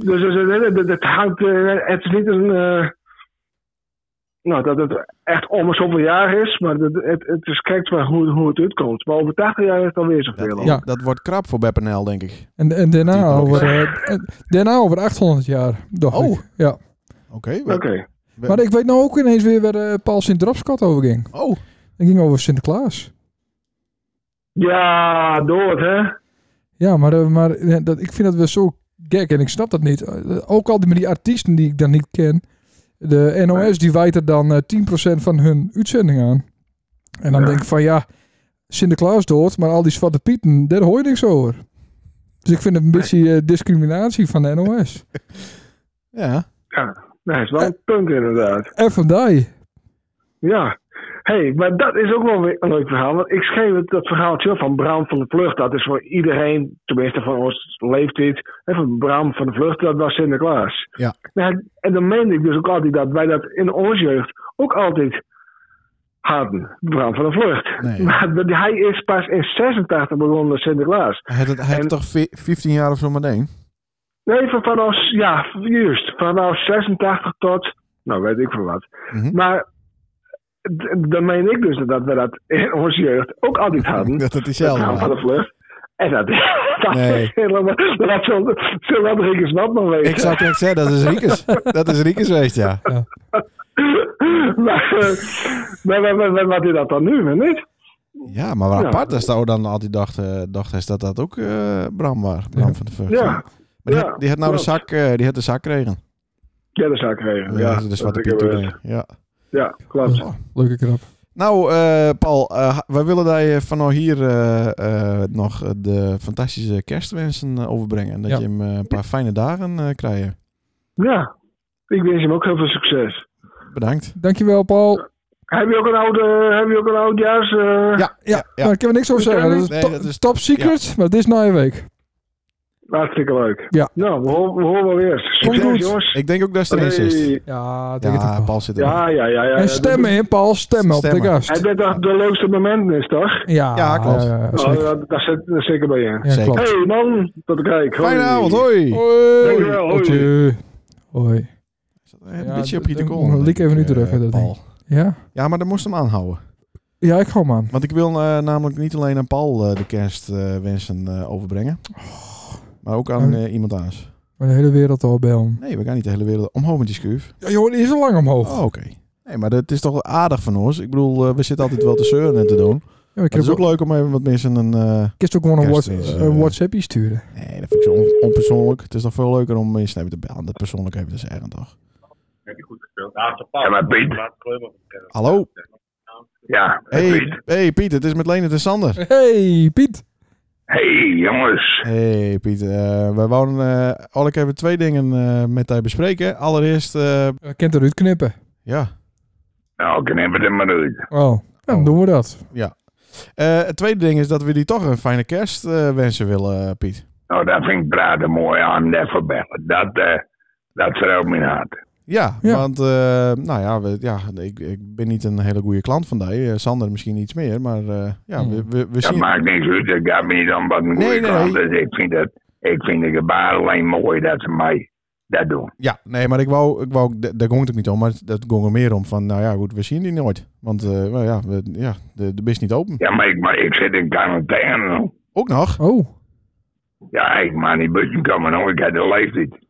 Speaker 5: Dus dus, eh, dat- dat- dat hangt, eh, het is niet een. eh, nou, dat het echt om een zoveel jaar is, maar dat, het, het is kijkt maar hoe, hoe het uitkomt. Maar over 80 jaar is het alweer zoveel.
Speaker 2: dat,
Speaker 5: al.
Speaker 1: Ja.
Speaker 2: dat wordt krap voor Beppenel, denk ik.
Speaker 1: En, en
Speaker 2: Die
Speaker 1: daarna
Speaker 2: blok.
Speaker 1: over, eh, en daarna over 800 jaar, dacht
Speaker 2: Oh.
Speaker 1: ik. Ja.
Speaker 2: Oké. we-
Speaker 5: Oké.
Speaker 2: we-
Speaker 1: Maar ik weet nou ook ineens weer waar eh, Paul Sint-Dropskot over ging.
Speaker 2: Oh,
Speaker 1: Dat ging over Sinterklaas.
Speaker 5: Ja, dood, hè?
Speaker 1: Ja, maar, eh, maar eh, dat, ik vind dat wel zo gek en ik snap dat niet. Eh, Ook al die, met die artiesten die ik dan niet ken. De NOS die wijt er dan eh, 10% van hun uitzending aan. En dan
Speaker 5: Ja.
Speaker 1: denk ik van ja, Sinterklaas dood, maar al die zwarte pieten, daar hoor je niks over. Dus ik vind het een beetje eh, discriminatie van de NOS.
Speaker 2: ja.
Speaker 5: Nee, het is
Speaker 1: Eh,
Speaker 5: wel een punt inderdaad.
Speaker 1: Even die.
Speaker 5: Ja. hey, maar dat is ook wel weer een leuk verhaal. Want ik schreef het, dat verhaaltje op van Bram van de Vlucht. Dat is voor iedereen, tenminste van ons leeftijd. En van Bram van de Vlucht, dat was Sinterklaas.
Speaker 2: Ja.
Speaker 5: Nou, en dan meende ik dus ook altijd dat wij dat in onze jeugd ook altijd hadden. Bram van de Vlucht.
Speaker 2: Nee.
Speaker 5: Maar dat- hij is pas in 86 begonnen met Sinterklaas.
Speaker 2: Hij heeft, het, hij heeft
Speaker 5: En-
Speaker 2: toch vi- 15 jaar of zo meteen?
Speaker 5: Nee, van, vanaf, ja, juist. Vanaf 86 tot, nou weet ik veel wat.
Speaker 2: Mhm.
Speaker 5: Maar d- dan meen ik dus dat we dat in onze jeugd ook altijd hadden.
Speaker 2: Dat het
Speaker 5: Het
Speaker 2: diezelfde
Speaker 5: raam van
Speaker 2: was.
Speaker 5: de vlucht. En dat, dat
Speaker 2: Nee.
Speaker 5: is helemaal... Dat had zo'n zo'n Rodriguez wat nog weten.
Speaker 2: Ik zou het zeggen, dat is Riekes. Dat is Riekes geweest, ja.
Speaker 5: maar, eh, maar, maar, maar, maar wat is dat dan nu, hè, niet?
Speaker 2: Ja, maar wat
Speaker 5: Ja.
Speaker 2: apart is dat we dan altijd dachten dacht is dat dat ook eh, Bram was. Bram
Speaker 1: Ja.
Speaker 2: van de Vught.
Speaker 5: Ja,
Speaker 2: Maar die,
Speaker 5: Ja,
Speaker 2: had, die had nou de
Speaker 5: klopt.
Speaker 2: zak, eh, die had de zak kregen.
Speaker 5: ja dat zou ik regelen. Ja,
Speaker 2: de zwarte
Speaker 5: dat ik
Speaker 2: piet
Speaker 5: heb,
Speaker 2: toedeling. Ja.
Speaker 5: eh, Ja, klopt.
Speaker 2: Oh.
Speaker 1: Leuke knap.
Speaker 2: Nou, eh, Paul, eh, wij willen dat je vanaf hier eh, eh, nog de fantastische kerstwensen eh, overbrengen. En dat
Speaker 1: Ja.
Speaker 2: je hem eh, een paar fijne dagen eh krijgt.
Speaker 5: Ja, ik wens hem ook heel veel succes.
Speaker 2: Bedankt.
Speaker 1: Dankjewel, Paul.
Speaker 5: Heb je ook een oude, heb je ook een oudjaars? eh
Speaker 2: Ja,
Speaker 1: Ja,
Speaker 2: ja.
Speaker 1: maar ik heb er niks over zeggen. Dat is,
Speaker 2: Nee,
Speaker 1: top,
Speaker 2: dat is-
Speaker 1: top secret, maar dit is na je week.
Speaker 5: Hartstikke leuk.
Speaker 1: Ja.
Speaker 5: Nou, we horen, we horen wel weer.
Speaker 2: Ik
Speaker 5: Succes,
Speaker 2: denk,
Speaker 5: jongens.
Speaker 2: ik denk ook dat ze erin zit.
Speaker 5: Hey.
Speaker 1: Ja, ik denk het
Speaker 2: Ja,
Speaker 1: ook wel.
Speaker 2: Paul zit erin.
Speaker 5: Ja, ja, ja. ja.
Speaker 1: En stemmen, hè, Paul. Stemmen op de
Speaker 2: Stemmen.
Speaker 1: gast.
Speaker 5: Hij bent toch de leukste momenten is, toch?
Speaker 1: Ja,
Speaker 2: Ja, klopt.
Speaker 1: ja, ja,
Speaker 5: Oh,
Speaker 1: zeker.
Speaker 5: ja, daar zit daar zeker bij in.
Speaker 1: Ja,
Speaker 2: Zeker.
Speaker 1: klopt.
Speaker 5: Hey man, tot de kijk. Hoi.
Speaker 2: Fijne avond, hoi!
Speaker 1: Hoi.
Speaker 5: Dankjewel, hoi.
Speaker 1: Hoi. Hoi.
Speaker 2: Een
Speaker 1: Ja,
Speaker 2: beetje op
Speaker 1: dat-
Speaker 2: je te
Speaker 1: dat
Speaker 2: komen.
Speaker 1: moet nog een
Speaker 2: denk
Speaker 1: lik even
Speaker 2: ik,
Speaker 1: nu terug,
Speaker 2: eh,
Speaker 1: hè, dat
Speaker 2: Paul.
Speaker 1: Ja?
Speaker 2: Ja, maar dan moest hem aanhouden.
Speaker 1: Ja, ik hou hem aan.
Speaker 2: Want ik wil eh, namelijk niet alleen aan Paul eh, de kerstwensen eh, overbrengen.
Speaker 1: Oh.
Speaker 2: Maar ook aan eh, iemand anders.
Speaker 1: Maar de hele wereld al bij hem.
Speaker 2: Nee, we gaan niet de hele wereld omhoog met die schuif.
Speaker 1: Ja, joh, die is al lang omhoog.
Speaker 2: Oh, oké. Nee, maar het is toch aardig van ons. Ik bedoel, eh, we zitten altijd wel te zeuren en te doen. Maar
Speaker 1: ja, maar
Speaker 2: het
Speaker 1: ik heb
Speaker 2: is ook
Speaker 1: ook,
Speaker 2: leuk om even wat mensen een... eh,
Speaker 1: kist ook gewoon een
Speaker 2: Kerst
Speaker 1: whats-
Speaker 2: is,
Speaker 1: een
Speaker 2: eh,
Speaker 1: WhatsAppje sturen.
Speaker 2: Nee, dat vind ik zo on- onpersoonlijk. Het is toch veel leuker om mensen even te bellen. Dat persoonlijk even te zeggen, toch?
Speaker 5: Ja, maar Piet.
Speaker 2: Hallo?
Speaker 5: Ja.
Speaker 2: Hey, hey Piet, het is met Lene en Sander.
Speaker 1: Hey, Piet.
Speaker 5: Hey jongens.
Speaker 2: Hey Piet, eh, wij wouden eh al ik even twee dingen eh, met jou bespreken. Allereerst, eh,
Speaker 1: Je kent eruit knippen.
Speaker 2: ja,
Speaker 5: Nou, ik neem het er maar uit.
Speaker 1: Oh, dan
Speaker 2: Oh.
Speaker 1: doen we dat.
Speaker 2: Eh, het tweede ding is dat we die toch een fijne kerst eh, wensen willen, eh, Piet.
Speaker 5: Nou, dat vind ik praten mooi aan never bellen. Dat, eh dat schrijft mijn hart.
Speaker 2: Ja,
Speaker 1: Ja.
Speaker 2: want eh, nou ja, we, ja ik, ik ben niet een hele goede klant van die. Eh, Sander misschien iets meer, maar eh, ja,
Speaker 1: Hmm.
Speaker 2: we, we, we
Speaker 5: Dat
Speaker 2: zien...
Speaker 5: maakt niks uit. Ik heb niet dan wat een
Speaker 2: Nee, nee,
Speaker 5: goede klant
Speaker 2: nee.
Speaker 5: is. Ik vind, dat, ik vind de gebaar alleen mooi dat ze mij dat doen.
Speaker 2: Ja, nee, maar ik wou, ik wou ook- daar daar ging het ook niet om, maar het- dat ging er meer om van, nou ja, goed, we zien die nooit. Want eh, nou ja, we, ja, de, de bus niet open.
Speaker 5: Ja, maar ik, maar ik zit in quarantaine. nog.
Speaker 2: Ook nog?
Speaker 1: Oh.
Speaker 5: Ja, ik mag niet buiten komen. hoor. Ik heb de leeftijd.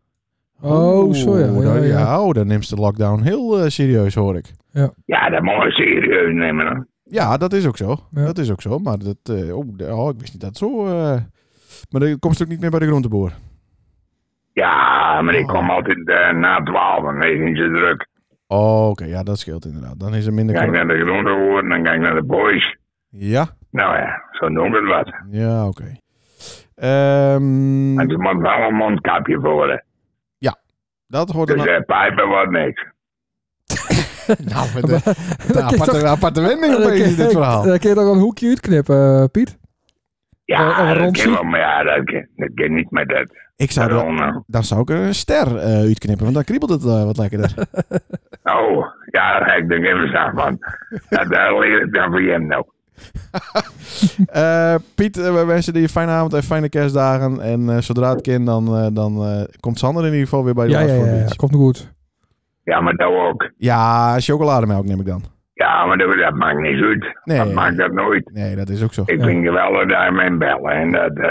Speaker 1: Oh, zo ja.
Speaker 2: Oeh,
Speaker 1: Ja,
Speaker 2: dan-
Speaker 1: ja.
Speaker 2: oh, dan neemt ze de lockdown heel eh, serieus, hoor ik.
Speaker 5: Ja, dat moet je serieus nemen. hoor.
Speaker 2: Ja, dat is ook zo.
Speaker 1: Ja.
Speaker 2: Dat is ook zo, maar dat, eh, oh, de- oh, ik wist niet dat het zo... eh, maar dan komt ze ook niet meer bij de groenteboer.
Speaker 5: Ja, maar ik
Speaker 2: Oh.
Speaker 5: kom altijd eh, na twaalf en dan is het druk.
Speaker 2: Oh, oké. Ja, dat scheelt inderdaad. Dan is er minder...
Speaker 5: Dan ga ik
Speaker 2: corona.
Speaker 5: naar de groente worden, dan ga ik naar de boys.
Speaker 2: Ja?
Speaker 5: Nou ja, zo doen we het wat.
Speaker 2: Ja, oké. Ehm,
Speaker 5: En ze moet wel een mondkapje voor. hè.
Speaker 2: dat hoort er
Speaker 5: Dus
Speaker 2: nou...
Speaker 5: eh, pijpen wordt niks.
Speaker 2: Nou, met de, de
Speaker 1: Dat is
Speaker 2: aparte,
Speaker 1: toch-
Speaker 2: aparte wending
Speaker 1: Dan
Speaker 2: opeens in
Speaker 1: kun
Speaker 2: dit
Speaker 1: je-
Speaker 2: verhaal.
Speaker 1: Dan kun je toch wel een hoekje uitknippen, eh, Piet? Eh,
Speaker 5: Ja,
Speaker 1: en
Speaker 5: dat
Speaker 1: Ronsie?
Speaker 5: kan wel, maar ja, dat kan, dat kan niet met dat. Oh, nou.
Speaker 2: Ik zou dan,
Speaker 5: Corona.
Speaker 2: dan zou ik er een ster eh, uitknippen, want dan kriebelt het eh, wat lekkerder.
Speaker 5: Oh, ja, daar ga ik er even aan van. Dat daar leer ik dan voor hem nou.
Speaker 2: Eh, Piet, eh, we wensen je een fijne avond en fijne kerstdagen. En eh, zodra het kan, dan, eh, dan eh, komt Sander in ieder geval weer bij de
Speaker 1: Ja,
Speaker 2: last
Speaker 1: ja,
Speaker 2: voor
Speaker 1: ja,
Speaker 2: een
Speaker 1: ja.
Speaker 2: beetje.
Speaker 1: Komt goed.
Speaker 5: Ja, maar dat ook.
Speaker 2: Ja, chocolademelk neem ik dan.
Speaker 5: Ja, maar dat, dat maakt niet uit.
Speaker 2: Nee.
Speaker 5: Dat maakt dat nooit.
Speaker 2: Nee, dat is ook zo.
Speaker 5: Ik
Speaker 1: Ja.
Speaker 5: vind geweldig dat hij mij bellen. En dat, eh,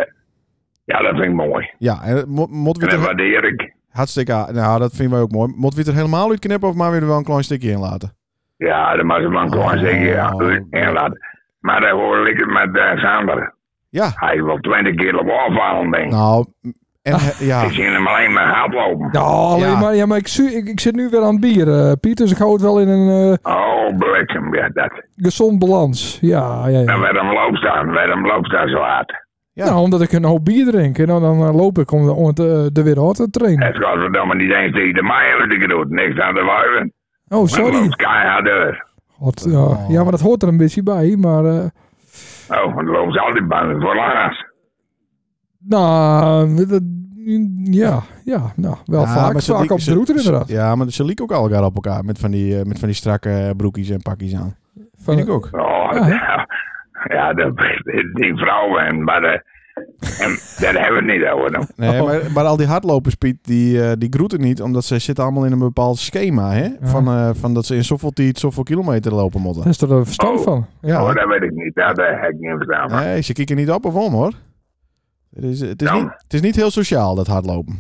Speaker 5: ja, dat vind ik mooi.
Speaker 2: Ja, en mo- moet we het
Speaker 5: En dat
Speaker 2: er-
Speaker 5: waardeer ik.
Speaker 2: hartstikke... Nou, dat vinden wij ook mooi. Moeten we het er helemaal uitknippen of maar weer wel een klein stukje in laten?
Speaker 5: Ja, dat mag ze maar
Speaker 1: Ah.
Speaker 5: gewoon zeggen. Ja,
Speaker 2: Oh.
Speaker 5: uit en laat. Maar daar hoor ik het met eh, Sander.
Speaker 2: Ja.
Speaker 5: Hij wil twintig kilo afvallen, denk ik.
Speaker 2: Nou, m- en he-
Speaker 5: Ik
Speaker 2: ja.
Speaker 5: zie hem alleen maar hard lopen.
Speaker 1: Ah. Ja, alleen
Speaker 2: Ja.
Speaker 1: maar, ja, maar ik, zu- ik, ik zit nu weer aan het bier, eh, Piet. Dus ik hou het wel in een eh,
Speaker 5: Oh, bliksem, ja, dat.
Speaker 1: gezond balans. Ja, ja, ja.
Speaker 5: En waarom loopt staan? Waarom loopt daar zo hard?
Speaker 2: Ja.
Speaker 1: Nou, omdat ik een hoop bier drink. En dan, dan eh, loop ik om, om het, eh, er weer hard te trainen.
Speaker 5: Het gaat verdomme niet eens tegen de meijer die doet. Niks aan de wuiven.
Speaker 1: Oh,
Speaker 5: Maar
Speaker 1: sorry.
Speaker 5: loopt keihard door.
Speaker 1: God, ja.
Speaker 2: Oh.
Speaker 1: ja, maar dat hoort er een beetje bij. Maar, eh,
Speaker 5: Oh, het loopt altijd bij voor laatst.
Speaker 1: nou, dat, ja, ja, nou, wel
Speaker 2: Ja,
Speaker 1: vaak,
Speaker 2: maar ze
Speaker 1: vaak
Speaker 2: lieken-
Speaker 1: op de
Speaker 2: ze-
Speaker 1: route
Speaker 2: ze-
Speaker 1: inderdaad.
Speaker 2: Ja, maar ze lieken ook al elkaar op elkaar met van die, eh, met van die strakke broekjes en pakjes aan.
Speaker 1: Van-
Speaker 2: Vind ik ook.
Speaker 5: Oh,
Speaker 1: Ja, hè?
Speaker 5: ja, ja dat, die vrouwen, en- maar eh, en, daar hebben we het niet over. nou.
Speaker 1: Oh.
Speaker 2: Nee, maar, maar al die hardlopers, Piet, die, eh, die groeten niet, omdat ze zitten allemaal in een bepaald schema, hè? Van, eh, van dat ze in zoveel tijd, zoveel kilometer lopen
Speaker 1: Daar
Speaker 2: moeten.
Speaker 1: is er een verstand
Speaker 5: Oh.
Speaker 1: van.
Speaker 2: Ja.
Speaker 5: Oh, dat weet ik eh, niet, daar daar heb ik niet verstaan. van.
Speaker 2: Nee, ze kieken niet op of om, hoor. Het is, het, is
Speaker 5: Nou.
Speaker 2: niet, het is niet heel sociaal, dat hardlopen.